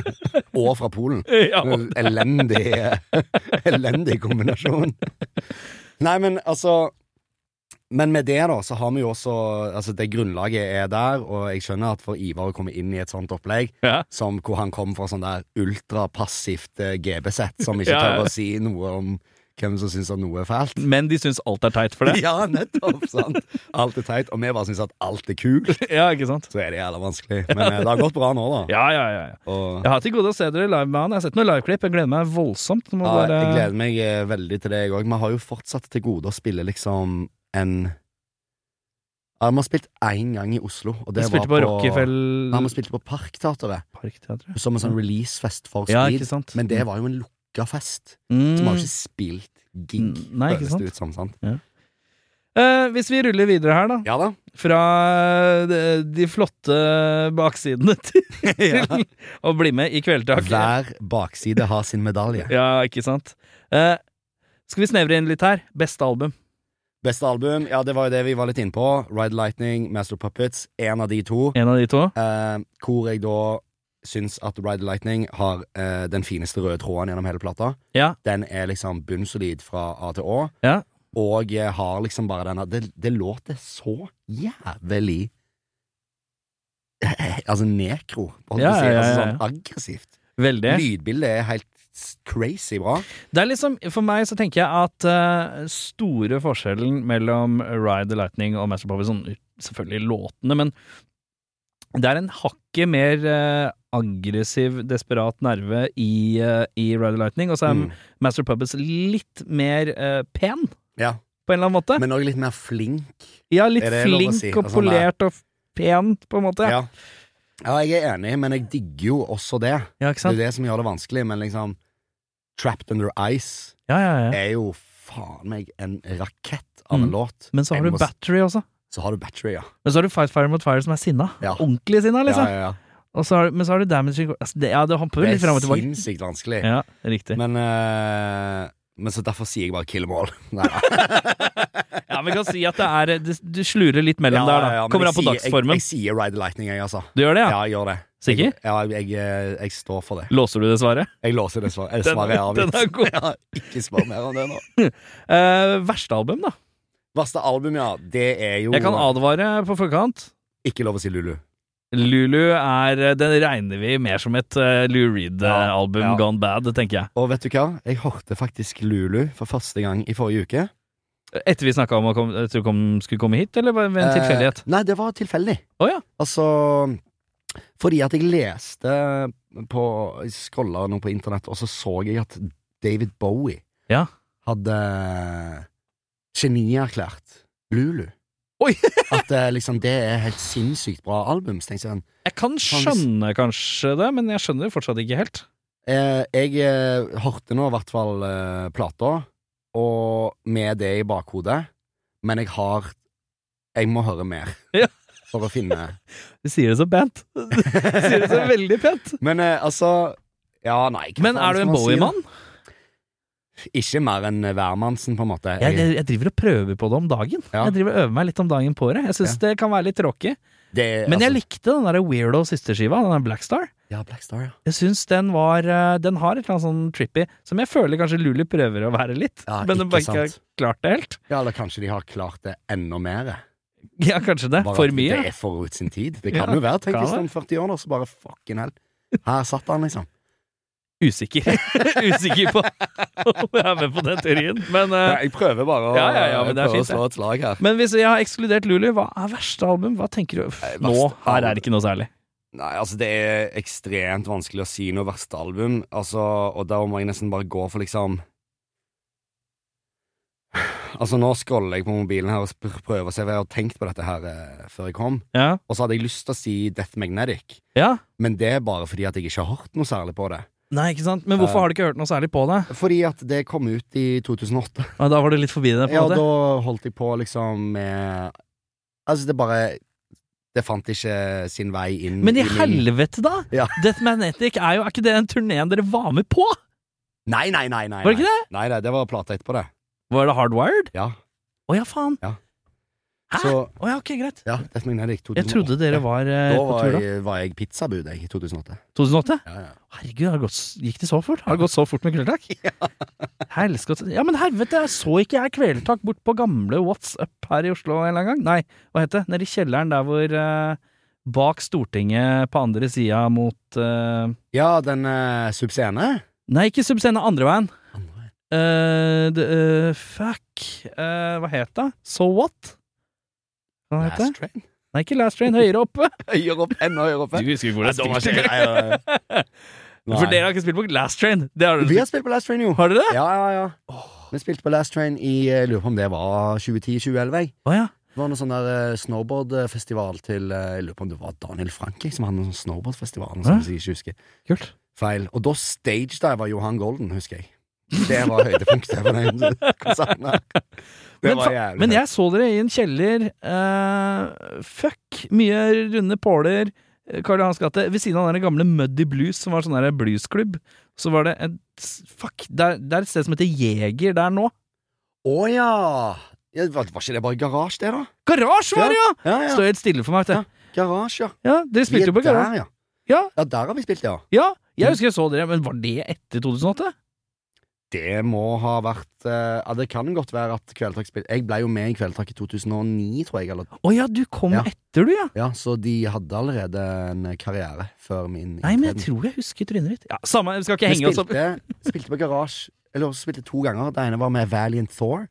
Speaker 2: [LAUGHS] og fra Polen.
Speaker 1: [LAUGHS] Ja.
Speaker 2: Elendig [LAUGHS] Elendig kombinasjon. Nei, men altså Men med det, da, så har vi jo også Altså, det grunnlaget er der, og jeg skjønner at for Ivar å komme inn i et sånt opplegg,
Speaker 1: Ja.
Speaker 2: som hvor han kom fra sånn der ultrapassivt eh, GB-sett, som ikke
Speaker 1: Ja, ja.
Speaker 2: tør å si noe om hvem som syns at noe er fælt.
Speaker 1: Men de syns alt er teit for det.
Speaker 2: [LAUGHS] Ja, nettopp, sant? Alt er teit, og vi bare syns at alt er kult.
Speaker 1: [LAUGHS] Ja, ikke sant?
Speaker 2: Så er det jævla vanskelig. Men eh, det har gått bra nå, da.
Speaker 1: Ja, ja, ja. ja.
Speaker 2: Og
Speaker 1: Jeg har til gode å se dere live med han. Jeg har sett noen liveklipp. Jeg gleder meg voldsomt. Må
Speaker 2: Ja,
Speaker 1: bare...
Speaker 2: jeg gleder meg eh, veldig til det, jeg òg. Vi har jo fortsatt til gode å spille liksom en Ja, vi har spilt én gang i Oslo, og det
Speaker 1: Vi spilte på
Speaker 2: var på Nei, vi
Speaker 1: Rockefeller
Speaker 2: spilte på Parkteatret,
Speaker 1: Parkteatret.
Speaker 2: som en sånn releasefest for
Speaker 1: Ja,
Speaker 2: Speed.
Speaker 1: ikke sant?
Speaker 2: Men det var jo en lukka fest,
Speaker 1: mm.
Speaker 2: så vi har jo ikke spilt gig,
Speaker 1: Mm, nei, ikke
Speaker 2: føles
Speaker 1: sant?
Speaker 2: det ut som. sant?
Speaker 1: Eh, Hvis vi ruller videre her, da.
Speaker 2: Ja da.
Speaker 1: Fra eh, de, de flotte baksidene [LAUGHS]
Speaker 2: [LAUGHS]
Speaker 1: til å bli med i Kvelertak.
Speaker 2: Hver bakside har sin medalje.
Speaker 1: [LAUGHS] Ja, ikke sant? Eh, skal vi snevre inn litt her? Beste album.
Speaker 2: Beste album, ja, det var jo det vi var litt inne på. Ride Lightning, Master of Puppets, én av de to.
Speaker 1: En av de to.
Speaker 2: Eh, hvor jeg da syns at Ride the Lightning har eh, den fineste røde tråden gjennom hele plata.
Speaker 1: Ja.
Speaker 2: Den er liksom bunnsolid fra A til Å.
Speaker 1: Ja.
Speaker 2: Og eh, har liksom bare denne Det, det låter så jævlig Altså nekro, holdt jeg
Speaker 1: Ja,
Speaker 2: på å si.
Speaker 1: ja, ja,
Speaker 2: Altså
Speaker 1: ja.
Speaker 2: sånn aggressivt.
Speaker 1: Veldig.
Speaker 2: Lydbildet er helt s- crazy bra.
Speaker 1: Det er liksom, For meg så tenker jeg at eh, store forskjellen mellom Ride the Lightning og Master Poppy, sånn selvfølgelig låtene, men det er en hakket mer eh, aggressiv, desperat nerve i, eh, i Ride the Lightning, og så er
Speaker 2: Mm.
Speaker 1: Master Puppets litt mer eh, pen,
Speaker 2: Ja.
Speaker 1: på en eller annen måte.
Speaker 2: Men òg litt mer flink.
Speaker 1: ja, litt
Speaker 2: er det lov å
Speaker 1: flink
Speaker 2: si?
Speaker 1: og
Speaker 2: Altså, det er-
Speaker 1: polert og pen, på en måte.
Speaker 2: Ja. ja, jeg er enig, men jeg digger jo også det.
Speaker 1: Ja, ikke
Speaker 2: Det er
Speaker 1: sant?
Speaker 2: det som gjør det vanskelig, men liksom Trapped Under Ice
Speaker 1: Ja, ja, ja.
Speaker 2: er jo faen meg en rakett av en
Speaker 1: Mm.
Speaker 2: låt.
Speaker 1: Men så har
Speaker 2: Jeg
Speaker 1: du
Speaker 2: må s-
Speaker 1: Battery også.
Speaker 2: Så har du Battery, ja.
Speaker 1: Men så har du Fight Fire Mot Fire, som er sinna.
Speaker 2: Ja.
Speaker 1: Ordentlig sinna, liksom.
Speaker 2: ja, ja, ja.
Speaker 1: Og så har, du- men så har du Damaging altså det, Ja, det hamper
Speaker 2: Det
Speaker 1: litt fram
Speaker 2: er
Speaker 1: og tilbake.
Speaker 2: sinnssykt vanskelig.
Speaker 1: Ja, riktig.
Speaker 2: Men, eh, men så derfor sier jeg bare Kill 'em all. [LAUGHS] Nei, da.
Speaker 1: [LAUGHS] Ja, men vi kan si at det er eh, det, Du slurer litt mellom
Speaker 2: Ja,
Speaker 1: der, da.
Speaker 2: ja, ja, men
Speaker 1: Kommer
Speaker 2: jeg
Speaker 1: an på
Speaker 2: sier-
Speaker 1: dagsformen.
Speaker 2: Jeg, jeg sier Ride the Lightning, jeg, altså.
Speaker 1: du gjør det,
Speaker 2: Ja,
Speaker 1: ja?
Speaker 2: jeg gjør det.
Speaker 1: Sikker?
Speaker 2: Jeg, ja, jeg, eh, jeg står for det.
Speaker 1: Låser du det svaret?
Speaker 2: Jeg låser det svar- eh,
Speaker 1: Den-
Speaker 2: [LAUGHS] svaret jeg har
Speaker 1: den er god.
Speaker 2: Ja, ikke spør mer om det nå.
Speaker 1: Eh, verste album, da?
Speaker 2: Verste album, ja. Det er jo
Speaker 1: Jeg kan advare på forkant.
Speaker 2: Ikke lov å si Lulu.
Speaker 1: Lulu er eh, Den regner vi mer som et eh, Lou Reed-album
Speaker 2: Ja, ja.
Speaker 1: gone bad, tenker jeg.
Speaker 2: Og vet du hva? Jeg hørte faktisk Lulu for første gang i forrige uke.
Speaker 1: Etter vi snakka om å kom, at du kom, skulle komme hit, eller var det en
Speaker 2: Eh,
Speaker 1: tilfeldighet?
Speaker 2: Nei, det var tilfeldig.
Speaker 1: Å ja.
Speaker 2: Altså Fordi at jeg leste på Jeg scrolla noe på internett, og så så jeg at David Bowie
Speaker 1: Ja.
Speaker 2: hadde genierklært Lulu.
Speaker 1: Oi! [LAUGHS]
Speaker 2: at eh, liksom det er helt sinnssykt bra album. Så tenkte jeg sånn
Speaker 1: Jeg kan skjønne kanskje det, men jeg skjønner det fortsatt ikke helt.
Speaker 2: Eh, jeg eh, hørte nå i hvert fall eh, plata, og med det i bakhodet, men jeg har Jeg må høre mer
Speaker 1: Ja.
Speaker 2: for å finne
Speaker 1: Du sier det så pent. [LAUGHS] Du sier det så veldig pent.
Speaker 2: Men eh, altså Ja, nei hva
Speaker 1: Men
Speaker 2: faen
Speaker 1: er du
Speaker 2: skal
Speaker 1: en
Speaker 2: man si, da?
Speaker 1: Bowie-mann?
Speaker 2: Ikke mer enn eh, hvermannsen, på en måte.
Speaker 1: Jeg,
Speaker 2: Jeg,
Speaker 1: jeg, jeg driver og prøver på det om dagen.
Speaker 2: Ja.
Speaker 1: Jeg driver og øver meg litt om dagen på det. Jeg syns det kan være litt tråkig.
Speaker 2: det,
Speaker 1: Men jeg
Speaker 2: altså-
Speaker 1: likte den der weirdo sisteskiva, den der Black Star.
Speaker 2: Ja, Black Star, ja.
Speaker 1: Jeg syns den var eh, Den har et eller annet sånn trippy som jeg føler kanskje Luli prøver å være litt,
Speaker 2: Ja,
Speaker 1: men den
Speaker 2: ikke
Speaker 1: bare ikke har
Speaker 2: sant.
Speaker 1: klart det helt. [LAUGHS]
Speaker 2: ja. Eller kanskje de har klart det enda mer.
Speaker 1: Ja, kanskje det.
Speaker 2: Bare
Speaker 1: For
Speaker 2: at
Speaker 1: mye.
Speaker 2: Det er forut sin tid. Det kan
Speaker 1: Ja,
Speaker 2: jo være. Tenk
Speaker 1: kan
Speaker 2: hvis
Speaker 1: det.
Speaker 2: den 40 år, da, så bare fucking hell. Her satt han, liksom.
Speaker 1: Usikker. [LAUGHS] Usikker på om jeg er med på den teorien, men eh,
Speaker 2: Jeg prøver bare å,
Speaker 1: Ja, ja, ja, men det er
Speaker 2: jeg
Speaker 1: fint,
Speaker 2: prøver å slå et slag her.
Speaker 1: Men hvis jeg har ekskludert Lulu, hva er verste album? Hva tenker du?
Speaker 2: Eh, verste
Speaker 1: Nå, her er
Speaker 2: album.
Speaker 1: det ikke noe særlig.
Speaker 2: Nei, altså det er ekstremt vanskelig å si noe verste album, altså, og da må jeg nesten bare gå for liksom Altså, nå scroller jeg på mobilen her og sp- prøver å se, for jeg har tenkt på dette her eh, før jeg kom,
Speaker 1: Ja.
Speaker 2: og så hadde jeg lyst til å si Death Magnetic,
Speaker 1: ja.
Speaker 2: men det er bare fordi at jeg ikke har hørt noe særlig på det.
Speaker 1: Nei, ikke sant? Men
Speaker 2: Eh.
Speaker 1: hvorfor har du ikke hørt noe særlig på det?
Speaker 2: Fordi at det kom ut i 2008.
Speaker 1: Ja, da var du litt forbi det, på
Speaker 2: Ja,
Speaker 1: en måte?
Speaker 2: da holdt jeg på liksom med Altså, det bare Det fant ikke sin vei inn
Speaker 1: Men i
Speaker 2: min-
Speaker 1: helvete, da!
Speaker 2: Mm, Ja.
Speaker 1: [LAUGHS] Death Magnetic er jo er ikke det den turneen dere var med på?
Speaker 2: Nei, nei, nei, nei.
Speaker 1: Var det ikke
Speaker 2: nei. Nei, nei, det var plata etterpå, det.
Speaker 1: Var det Hardwired?
Speaker 2: Ja.
Speaker 1: Å ja, faen.
Speaker 2: Ja.
Speaker 1: Hæ? Å
Speaker 2: Så
Speaker 1: ja, ok, greit.
Speaker 2: Ja, Death Magnetic 2008.
Speaker 1: Jeg trodde dere var eh,
Speaker 2: Da
Speaker 1: på
Speaker 2: Mm. var
Speaker 1: tur da.
Speaker 2: jeg, var jeg pizzabud jeg, i 2008.
Speaker 1: 2008?
Speaker 2: Ja, ja.
Speaker 1: Herregud, har det gått, s- gikk det så fort? Har det gått så fort med
Speaker 2: [LAUGHS]
Speaker 1: Kvelertak? Ja. ja, men helvete, jeg så ikke jeg Kvelertak bort på gamle What's Up her i Oslo en eller annen gang. Nei, hva heter det? Nede i kjelleren der hvor eh, Bak Stortinget på andre sida mot eh,
Speaker 2: ja den uh, subscene.
Speaker 1: Nei, ikke Subscena, andre veien.
Speaker 2: Andre veien.
Speaker 1: Eh, det, eh, fuck eh, Hva het det? So What? Hva het det?
Speaker 2: Last train.
Speaker 1: Nei, ikke Last Train. Høyere oppe.
Speaker 2: [LAUGHS] Høyere opp, enda høyere oppe.
Speaker 1: husker ikke
Speaker 2: Nei, da var ikke- eh, nei, nei, nei. [LAUGHS] Nei.
Speaker 1: For dere har ikke spilt på Last Train. Det har dere
Speaker 2: Vi har spilt på Last Train, jo.
Speaker 1: Har dere det?
Speaker 2: Ja, ja, ja. Vi spilte på Last Train i jeg Lurer på om det var 2010-2011. jeg.
Speaker 1: Å ja.
Speaker 2: Det var noe sånn der eh, snowboardfestival til eh, Jeg lurer på om det var Daniel Frank jeg, som hadde noen sånn snowboardfestival. Noe
Speaker 1: Hæ?
Speaker 2: sånt, som jeg ikke husker.
Speaker 1: Kult.
Speaker 2: Feil. Og da stagediva Johan Golden, husker jeg. Det var høydepunktet på den konserten her. Det
Speaker 1: Men,
Speaker 2: var
Speaker 1: fa-
Speaker 2: jævlig
Speaker 1: men
Speaker 2: fett.
Speaker 1: jeg så dere i en kjeller. eh, fuck, mye runde påler. eh, Karl Johans gate. Ved siden av den der gamle Muddy Blues, som var sånn der bluesklubb. Så var det et s- Fuck, det er, det er et sted som heter Jeger der nå.
Speaker 2: Å ja. ja! Var var ikke det bare garasje, det, da?
Speaker 1: Garasje var det, ja!
Speaker 2: Ja, ja.
Speaker 1: Står helt stille for meg. vet du.
Speaker 2: Garasje, ja.
Speaker 1: Ja, dere
Speaker 2: Vi
Speaker 1: spilte jo
Speaker 2: er
Speaker 1: på garasje.
Speaker 2: der, Mm. ja.
Speaker 1: Ja.
Speaker 2: ja, der har vi spilt, ja.
Speaker 1: Ja, jeg husker jeg så dere, men var det etter 2008?
Speaker 2: Det må ha vært eh, Ja, det kan godt være at Kveldtak spilte Jeg ble jo med i Kveldtak i 2009, tror jeg. Eller.
Speaker 1: Å ja, du kom
Speaker 2: Ja.
Speaker 1: etter, du, ja.
Speaker 2: Ja, Så de hadde allerede en karriere før min
Speaker 1: Nei, men jeg
Speaker 2: inntreden.
Speaker 1: tror jeg husker trynet ditt. Ja, Samme, vi skal ikke
Speaker 2: Vi
Speaker 1: henge oss opp.
Speaker 2: spilte, spilte på garasje Eller også spilte to ganger. Det ene var med Valiant
Speaker 1: [LAUGHS]
Speaker 2: Thor.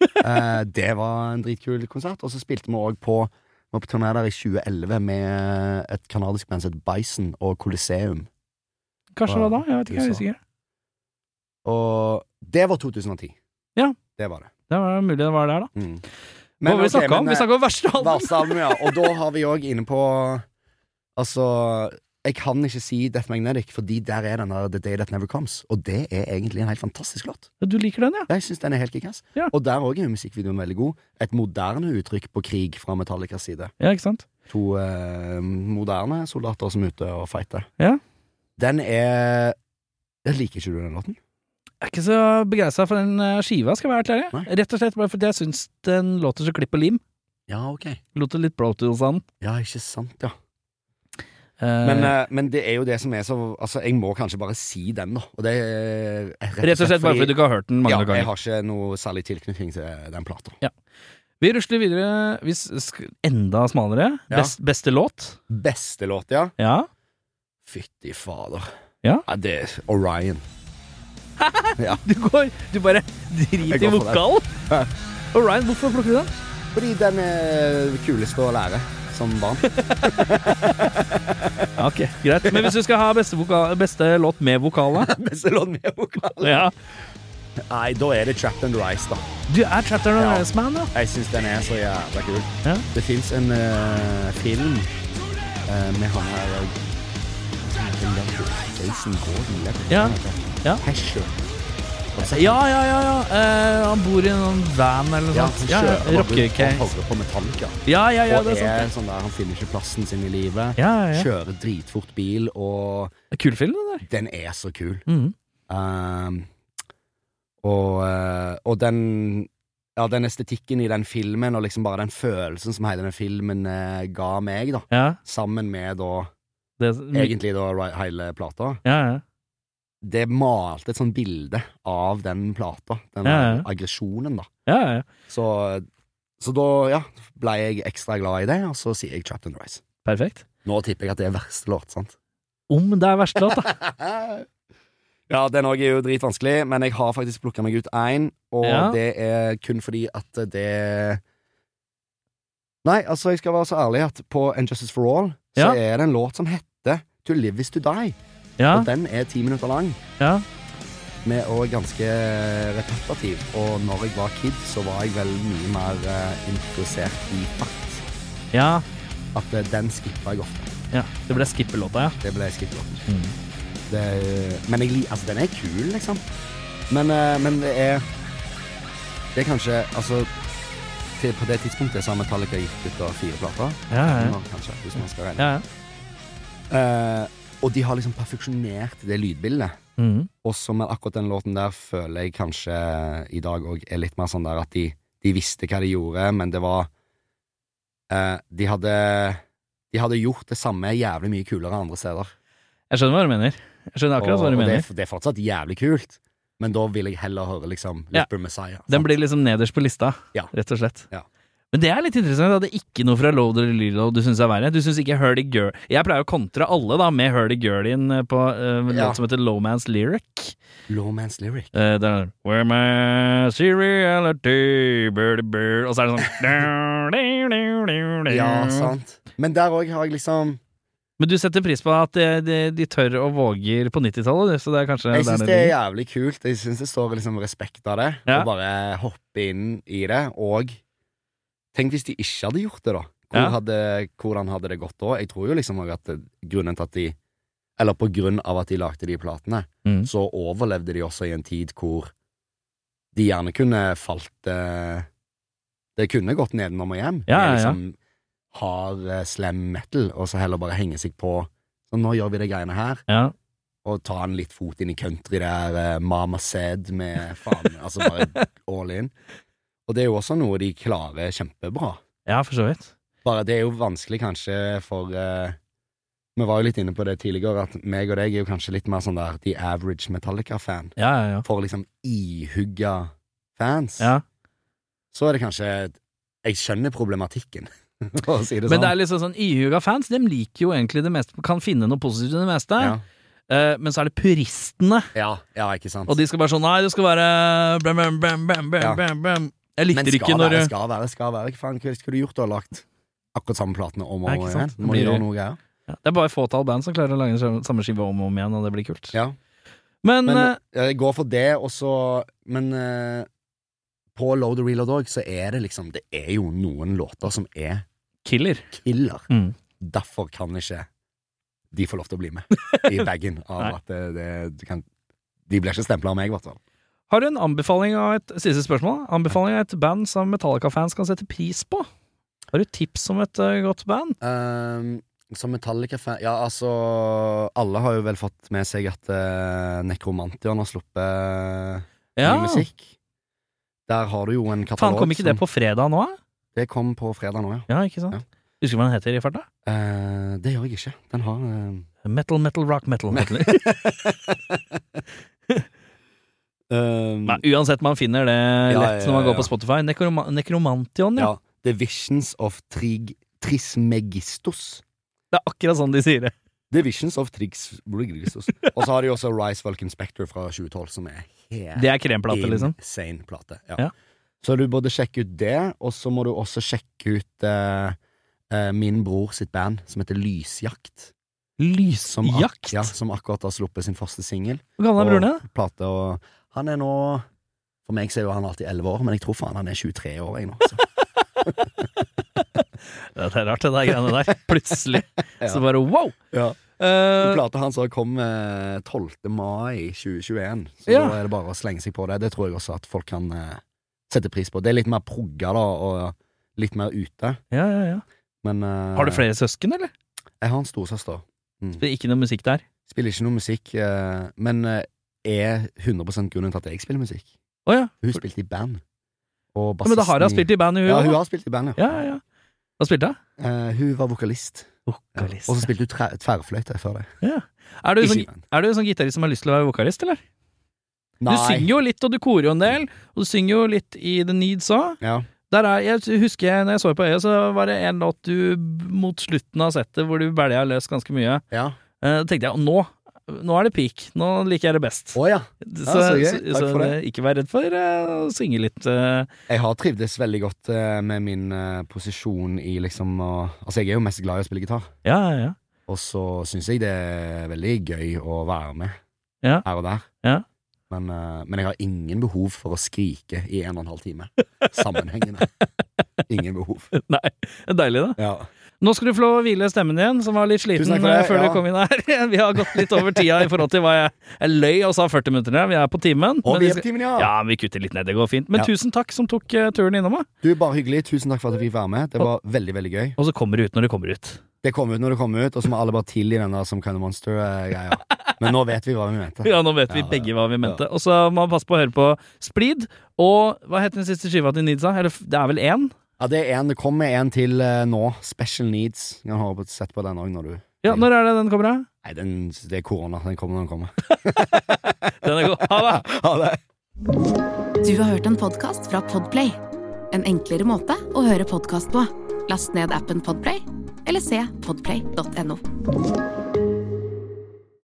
Speaker 2: Eh, det var en dritkul konsert. Og så spilte vi òg på vi var på turné der i 2011 med et kanadisk band som het Bison og Coliseum.
Speaker 1: Kanskje det var da? Jeg vet ikke, jeg er
Speaker 2: USA.
Speaker 1: usikker.
Speaker 2: Og det var 2010.
Speaker 1: Ja.
Speaker 2: Det var det.
Speaker 1: Det var mulig det var der, da.
Speaker 2: Mm.
Speaker 1: Hva var det vi snakka om? Vi
Speaker 2: eh,
Speaker 1: snakka om verste
Speaker 2: om
Speaker 1: album.
Speaker 2: ja. Og da har vi òg inne på Altså, jeg kan ikke si Death Magnetic, fordi der er den der The Day That Never Comes. Og det er egentlig en helt fantastisk låt.
Speaker 1: Du liker den, ja?
Speaker 2: Jeg syns den er helt kickass.
Speaker 1: Ja.
Speaker 2: Og der òg er jo musikkvideoen veldig god. Et moderne uttrykk på krig fra Metallicas side.
Speaker 1: Ja, ikke sant?
Speaker 2: To eh, moderne soldater som er ute og fighter.
Speaker 1: Ja.
Speaker 2: Den er Jeg liker ikke du den låten?
Speaker 1: Jeg er ikke så begeistra for den eh, skiva, skal jeg være helt ærlig.
Speaker 2: Nei.
Speaker 1: Rett og slett bare fordi jeg syns den låter så klipp og lim.
Speaker 2: Ja, ok.
Speaker 1: Låter litt Brotils an.
Speaker 2: Ja, ikke sant, ja.
Speaker 1: Eh,
Speaker 2: Men, eh, men det er jo det som er så Altså, jeg må kanskje bare si den, da. Og det er eh,
Speaker 1: rett og slett bare fordi du ikke har hørt den mange
Speaker 2: ja,
Speaker 1: ganger.
Speaker 2: Jeg har ikke noe særlig tilknytning til den plata.
Speaker 1: Vi rusler videre vi s- sk- enda smalere.
Speaker 2: Ja.
Speaker 1: Best, beste låt.
Speaker 2: Beste låt, ja.
Speaker 1: Ja.
Speaker 2: Fytti fader.
Speaker 1: Ja.
Speaker 2: det er Orion.
Speaker 1: Du går Du bare
Speaker 2: Jeg
Speaker 1: driter i
Speaker 2: går for den.
Speaker 1: vokalen. [LAUGHS]
Speaker 2: Ja.
Speaker 1: Orion, hvorfor plukker du den?
Speaker 2: Fordi den er kulest å lære som barn.
Speaker 1: Ja, Ok, greit. Men hvis du skal ha beste, voka- beste låt med vokal, da?
Speaker 2: Beste låt med vokal.
Speaker 1: [LAUGHS] Ja.
Speaker 2: Nei, da er det Trapped and Rise, da.
Speaker 1: Du er Chapter and
Speaker 2: Ja.
Speaker 1: Ice Man, da.
Speaker 2: Jeg syns den er så jævla kul.
Speaker 1: Ja.
Speaker 2: Det fins en eh, film eh, med han her eh, Jason Ledger. Jason Gordon Ledger.
Speaker 1: Ja.
Speaker 2: Hva heter han?
Speaker 1: Ja.
Speaker 2: Hesher.
Speaker 1: Ja, ja, ja. ja. Eh, han bor i en van eller noe
Speaker 2: Ja,
Speaker 1: sånt.
Speaker 2: han
Speaker 1: Ja,
Speaker 2: kjører
Speaker 1: ja,
Speaker 2: bare rundt
Speaker 1: Rockecase.
Speaker 2: og hører på Metallica.
Speaker 1: Ja, ja, ja,
Speaker 2: og
Speaker 1: det
Speaker 2: er,
Speaker 1: er sant.
Speaker 2: sånn der, han finner ikke plassen sin i livet.
Speaker 1: Ja, ja, ja.
Speaker 2: Kjører dritfort bil, og
Speaker 1: Det er Kul film, det der.
Speaker 2: den er så kul.
Speaker 1: Mhm.
Speaker 2: Um, og, eh, og den Ja, den estetikken i den filmen, og liksom bare den følelsen som hele den filmen eh, ga meg, da.
Speaker 1: Ja,
Speaker 2: Sammen med da
Speaker 1: det,
Speaker 2: egentlig da ri- hele plata.
Speaker 1: ja, ja.
Speaker 2: Det malte et sånt bilde av den plata. Den
Speaker 1: Ja, ja.
Speaker 2: der aggresjonen, da.
Speaker 1: ja, ja.
Speaker 2: Så, så da, ja, ble jeg ekstra glad i det, og så sier jeg Trapped and Rise.
Speaker 1: Perfekt.
Speaker 2: Nå tipper jeg at det er verste låt, sant?
Speaker 1: Om det er verste låt, da.
Speaker 2: ja, den òg er jo dritvanskelig, men jeg har faktisk plukka meg ut én, og
Speaker 1: Ja.
Speaker 2: det er kun fordi at det Nei, altså, jeg skal være så ærlig at på And Justice for All så
Speaker 1: Ja.
Speaker 2: er det en låt som heter To Live Is To Die,
Speaker 1: [LAUGHS] Ja,
Speaker 2: og den er ti minutter lang.
Speaker 1: ja.
Speaker 2: Med og ganske repetativ. Og når jeg var kid, så var jeg vel mye mer eh, interessert i fakt.
Speaker 1: ja.
Speaker 2: At eh, den skippa jeg ofte.
Speaker 1: ja. Det ble skippelåta, ja.
Speaker 2: Det ble skippelåten.
Speaker 1: Mhm.
Speaker 2: Det, men jeg, lik- altså, den er kul, liksom. Men, eh, men det er Det er kanskje Altså, til, på det tidspunktet så har Metallica gitt ut da fire plater.
Speaker 1: Ja, ja, ja.
Speaker 2: Nå, Kanskje, hvis man skal regne.
Speaker 1: ja, ja.
Speaker 2: Eh, og de har liksom perfeksjonert det lydbildet.
Speaker 1: Mhm.
Speaker 2: Også med akkurat den låten der føler jeg kanskje i dag òg er litt mer sånn der at de, de visste hva de gjorde, men det var eh, De hadde De hadde gjort det samme jævlig mye kulere andre steder.
Speaker 1: Jeg skjønner hva du mener. Jeg skjønner akkurat
Speaker 2: og,
Speaker 1: hva du
Speaker 2: og det,
Speaker 1: mener.
Speaker 2: er, det er fortsatt jævlig kult, men da vil jeg heller høre liksom
Speaker 1: Ja.
Speaker 2: Lipper Messiah.
Speaker 1: Den
Speaker 2: sant?
Speaker 1: blir liksom nederst på lista,
Speaker 2: Ja.
Speaker 1: rett og slett.
Speaker 2: Ja.
Speaker 1: Men det er litt interessant at det er ikke noe fra Load eller Lilo du syns er verre. Du syns ikke Hurdy Girl Jeg pleier å kontre alle da med Hurdy Girlien på eh, en
Speaker 2: Ja.
Speaker 1: låt som heter Lowman's Lyric.
Speaker 2: Lawman's lyric.
Speaker 1: Eh, det er Where my seriality birdie bird Og så er det sånn
Speaker 2: [LAUGHS]
Speaker 1: [LAUGHS]
Speaker 2: Ja, sant. Men der òg har jeg liksom
Speaker 1: Men du setter pris på at de, de, de tør og våger på 90-tallet, du, så det er kanskje
Speaker 2: Jeg syns
Speaker 1: der
Speaker 2: det er
Speaker 1: ligger.
Speaker 2: jævlig kult. Jeg syns det står liksom respekt av det.
Speaker 1: Ja.
Speaker 2: Å bare hoppe inn i det. Og tenk hvis de ikke hadde gjort det, da. Hvor
Speaker 1: Ja.
Speaker 2: hadde, hvordan hadde det gått da? Jeg tror jo liksom også at grunnen til at de Eller på grunn av at de lagde de platene,
Speaker 1: Mm.
Speaker 2: så overlevde de også i en tid hvor de gjerne kunne falt eh, Det kunne gått nedenom og hjem.
Speaker 1: Ja,
Speaker 2: med
Speaker 1: ja, ja.
Speaker 2: liksom hard eh, slam metal, og så heller bare henge seg på Så nå gjør vi de greiene her
Speaker 1: Ja.
Speaker 2: og ta en litt fot inn i country der, eh, Mama Said med faen, altså bare all in. Og det er jo også noe de klarer kjempebra.
Speaker 1: ja, for så vidt.
Speaker 2: Bare det er jo vanskelig kanskje for eh, Vi var jo litt inne på det tidligere, at meg og deg er jo kanskje litt mer sånn der the average Metallica-fan.
Speaker 1: Ja, ja, ja.
Speaker 2: For liksom ihugga fans.
Speaker 1: ja.
Speaker 2: Så er det kanskje Jeg skjønner problematikken, [LAUGHS] for å si det sånn.
Speaker 1: Men det er liksom sånn ihuga fans, dem liker jo egentlig det meste, kan finne noe positivt i det meste.
Speaker 2: ja.
Speaker 1: Eh, men så er det puristene,
Speaker 2: Ja, ja, ikke sant.
Speaker 1: og de skal bare sånn Nei, det skal være bam, bam, bam, bam, bam,
Speaker 2: Ja.
Speaker 1: bam, bam. Jeg
Speaker 2: Men
Speaker 1: likte det
Speaker 2: skal
Speaker 1: ikke når
Speaker 2: være,
Speaker 1: du
Speaker 2: skal være, skal være. Hva faen, hva skulle du gjort da? Lagt akkurat samme platene om og
Speaker 1: Nei,
Speaker 2: om
Speaker 1: ikke
Speaker 2: igjen?
Speaker 1: sant? Det
Speaker 2: Må du
Speaker 1: blir-
Speaker 2: gjøre noe greier?
Speaker 1: ja, Det er bare et fåtall band som klarer å lage den samme skive om og om igjen, og det blir kult.
Speaker 2: Ja.
Speaker 1: Men,
Speaker 2: Men
Speaker 1: eh,
Speaker 2: jeg går for det, og så Men eh, på Load and Reload òg, så er det liksom Det er jo noen låter som er
Speaker 1: Killer.
Speaker 2: killer.
Speaker 1: Mm.
Speaker 2: Derfor kan ikke de få lov til å bli med
Speaker 1: [LAUGHS]
Speaker 2: i bagen av
Speaker 1: Nei.
Speaker 2: at det, det, du kan De blir ikke stempla av meg, i hvert fall.
Speaker 1: Har du en anbefaling av et siste spørsmål? Anbefaling av et band som Metallica-fans kan sette pris på? Har du tips om et eh, godt band?
Speaker 2: Ehm, som Metallica-fan Ja, altså Alle har jo vel fått med seg at uh, Nekromantion har sluppet ny musikk. Der har du jo en katalog.
Speaker 1: Faen, kom ikke det
Speaker 2: som-
Speaker 1: på fredag nå, da?
Speaker 2: Det kom på fredag nå, ja.
Speaker 1: Ja, ikke sant? Husker du hva den heter i farta?
Speaker 2: Eh, det gjør jeg ikke. Den har eh,
Speaker 1: Metal, metal, rock, metal. metal.
Speaker 2: eh,
Speaker 1: Nei, uansett, man finner det
Speaker 2: Ja,
Speaker 1: lett
Speaker 2: ja,
Speaker 1: når man går
Speaker 2: ja,
Speaker 1: på Spotify. Nekroma Nekromantion, ja.
Speaker 2: ja. The Visions of Trig... Trismegistus.
Speaker 1: Det er akkurat sånn de sier det.
Speaker 2: The Visions of Trigsmegistus. Og så har de også Rise Vulcan Spectre fra 2012, som er helt
Speaker 1: Det er kremplate, liksom.
Speaker 2: insane plate. Ja.
Speaker 1: Ja.
Speaker 2: Så du burde sjekke ut det, og så må du også sjekke ut eh, eh, min bror sitt band, som heter Lysjakt. Som ak-
Speaker 1: Lysjakt?
Speaker 2: Ja, som akkurat har sluppet sin første singel.
Speaker 1: Hvor gammel er broren din? da?
Speaker 2: Plate, og han er nå For meg så er jo han alltid 11 år, men jeg tror faen han er 23 år, jeg nå. altså.
Speaker 1: [LAUGHS]
Speaker 2: Så.
Speaker 1: Det er rart, det der
Speaker 2: [LAUGHS]
Speaker 1: greiene der. Plutselig.
Speaker 2: Ja.
Speaker 1: Så bare wow!
Speaker 2: Ja.
Speaker 1: Eh,
Speaker 2: Plata hans har kom eh, 12. mai 2021, så
Speaker 1: Ja.
Speaker 2: da er det bare å slenge seg på det. Det tror jeg også at folk kan eh, sette pris på. Det er litt mer progga, da, og litt mer ute,
Speaker 1: ja, ja, ja.
Speaker 2: men eh,
Speaker 1: Har du flere søsken, eller?
Speaker 2: Jeg har en storsøster.
Speaker 1: Det er Ikke noe musikk der?
Speaker 2: Spiller ikke noe musikk, eh, men eh, er 100 grunnen til at jeg spiller musikk.
Speaker 1: Å ja.
Speaker 2: Hun spilte i band. Og
Speaker 1: ja. Men da har hun spilt i band, hun
Speaker 2: Ja, hun
Speaker 1: òg.
Speaker 2: har spilt i band,
Speaker 1: Ja, ja, ja. Hva spilte hun?
Speaker 2: Eh, hun var vokalist. Ja. Og så
Speaker 1: Vokalist.
Speaker 2: spilte hun tre- tverrfløyte før det.
Speaker 1: Er du
Speaker 2: Ikke
Speaker 1: sånn,
Speaker 2: i band.
Speaker 1: er du sånn gitarist som har lyst til å være vokalist, eller?
Speaker 2: Nei.
Speaker 1: Du synger jo litt, og du korer jo en del. Og du synger jo litt i The Needs òg.
Speaker 2: Ja.
Speaker 1: Der er, jeg husker jeg, når jeg så på øyet, så var det en låt du mot slutten av settet hvor du belja løs ganske mye.
Speaker 2: ja.
Speaker 1: Eh, Da tenkte jeg nå, nå er det peak. Nå liker jeg det best.
Speaker 2: Å ja. så gøy. Takk for det.
Speaker 1: eh, ikke vær redd for eh, å synge litt. eh.
Speaker 2: Jeg har trivdes veldig godt eh, med min eh, posisjon i liksom å Altså, jeg er jo mest glad i å spille gitar,
Speaker 1: ja, ja, [LAUGHS] ja.
Speaker 2: og så syns jeg det er veldig gøy å være med
Speaker 1: Ja.
Speaker 2: her og der.
Speaker 1: Ja.
Speaker 2: Men, eh, men jeg har ingen behov for å skrike i en og en halv time. Sammenhengende. Ingen behov.
Speaker 1: Nei, det er deilig, da.
Speaker 2: Ja.
Speaker 1: Nå skal du få lov å hvile stemmen din, som var litt sliten
Speaker 2: Tusen takk for det,
Speaker 1: eh, før
Speaker 2: ja.
Speaker 1: du kom inn her. [LAUGHS] Vi har gått litt over tida i forhold til hva jeg, jeg løy og sa 40 minutter. der. Vi er på timen.
Speaker 2: Og
Speaker 1: men vi
Speaker 2: vi er
Speaker 1: skal-
Speaker 2: på timen, ja.
Speaker 1: ja, men vi kutter litt ned. Det går fint. Men
Speaker 2: Ja.
Speaker 1: tusen takk som tok eh, turen innom. da.
Speaker 2: Du, bare hyggelig. Tusen takk for at jeg fikk være med. Det var veldig, veldig gøy.
Speaker 1: Og så kommer det ut når det kommer ut.
Speaker 2: Det kom ut når det kom ut, og så må alle bare tilgi den der som Kind of Monster-greia. Men nå vet vi hva vi mente.
Speaker 1: [LAUGHS] Ja, nå vet vi
Speaker 2: Ja, det-
Speaker 1: begge hva vi mente. Og så må man passe på å høre på Splid. Og hva het den siste skiva til Nidsa? Eller f- det er vel én?
Speaker 2: Ja, det, er en, det kommer en til eh, nå. Special Needs. Jeg har på- sett på den òg når du
Speaker 1: Ja, når er det den kommer, da?
Speaker 2: Nei, den, det er korona. Den kommer når den kommer. [LAUGHS]
Speaker 1: Den er god. Ha det!
Speaker 2: Ha det!
Speaker 3: Du har hørt en podkast fra Podplay. En enklere måte å høre podkast på. Last ned appen Podplay, eller se podplay.no.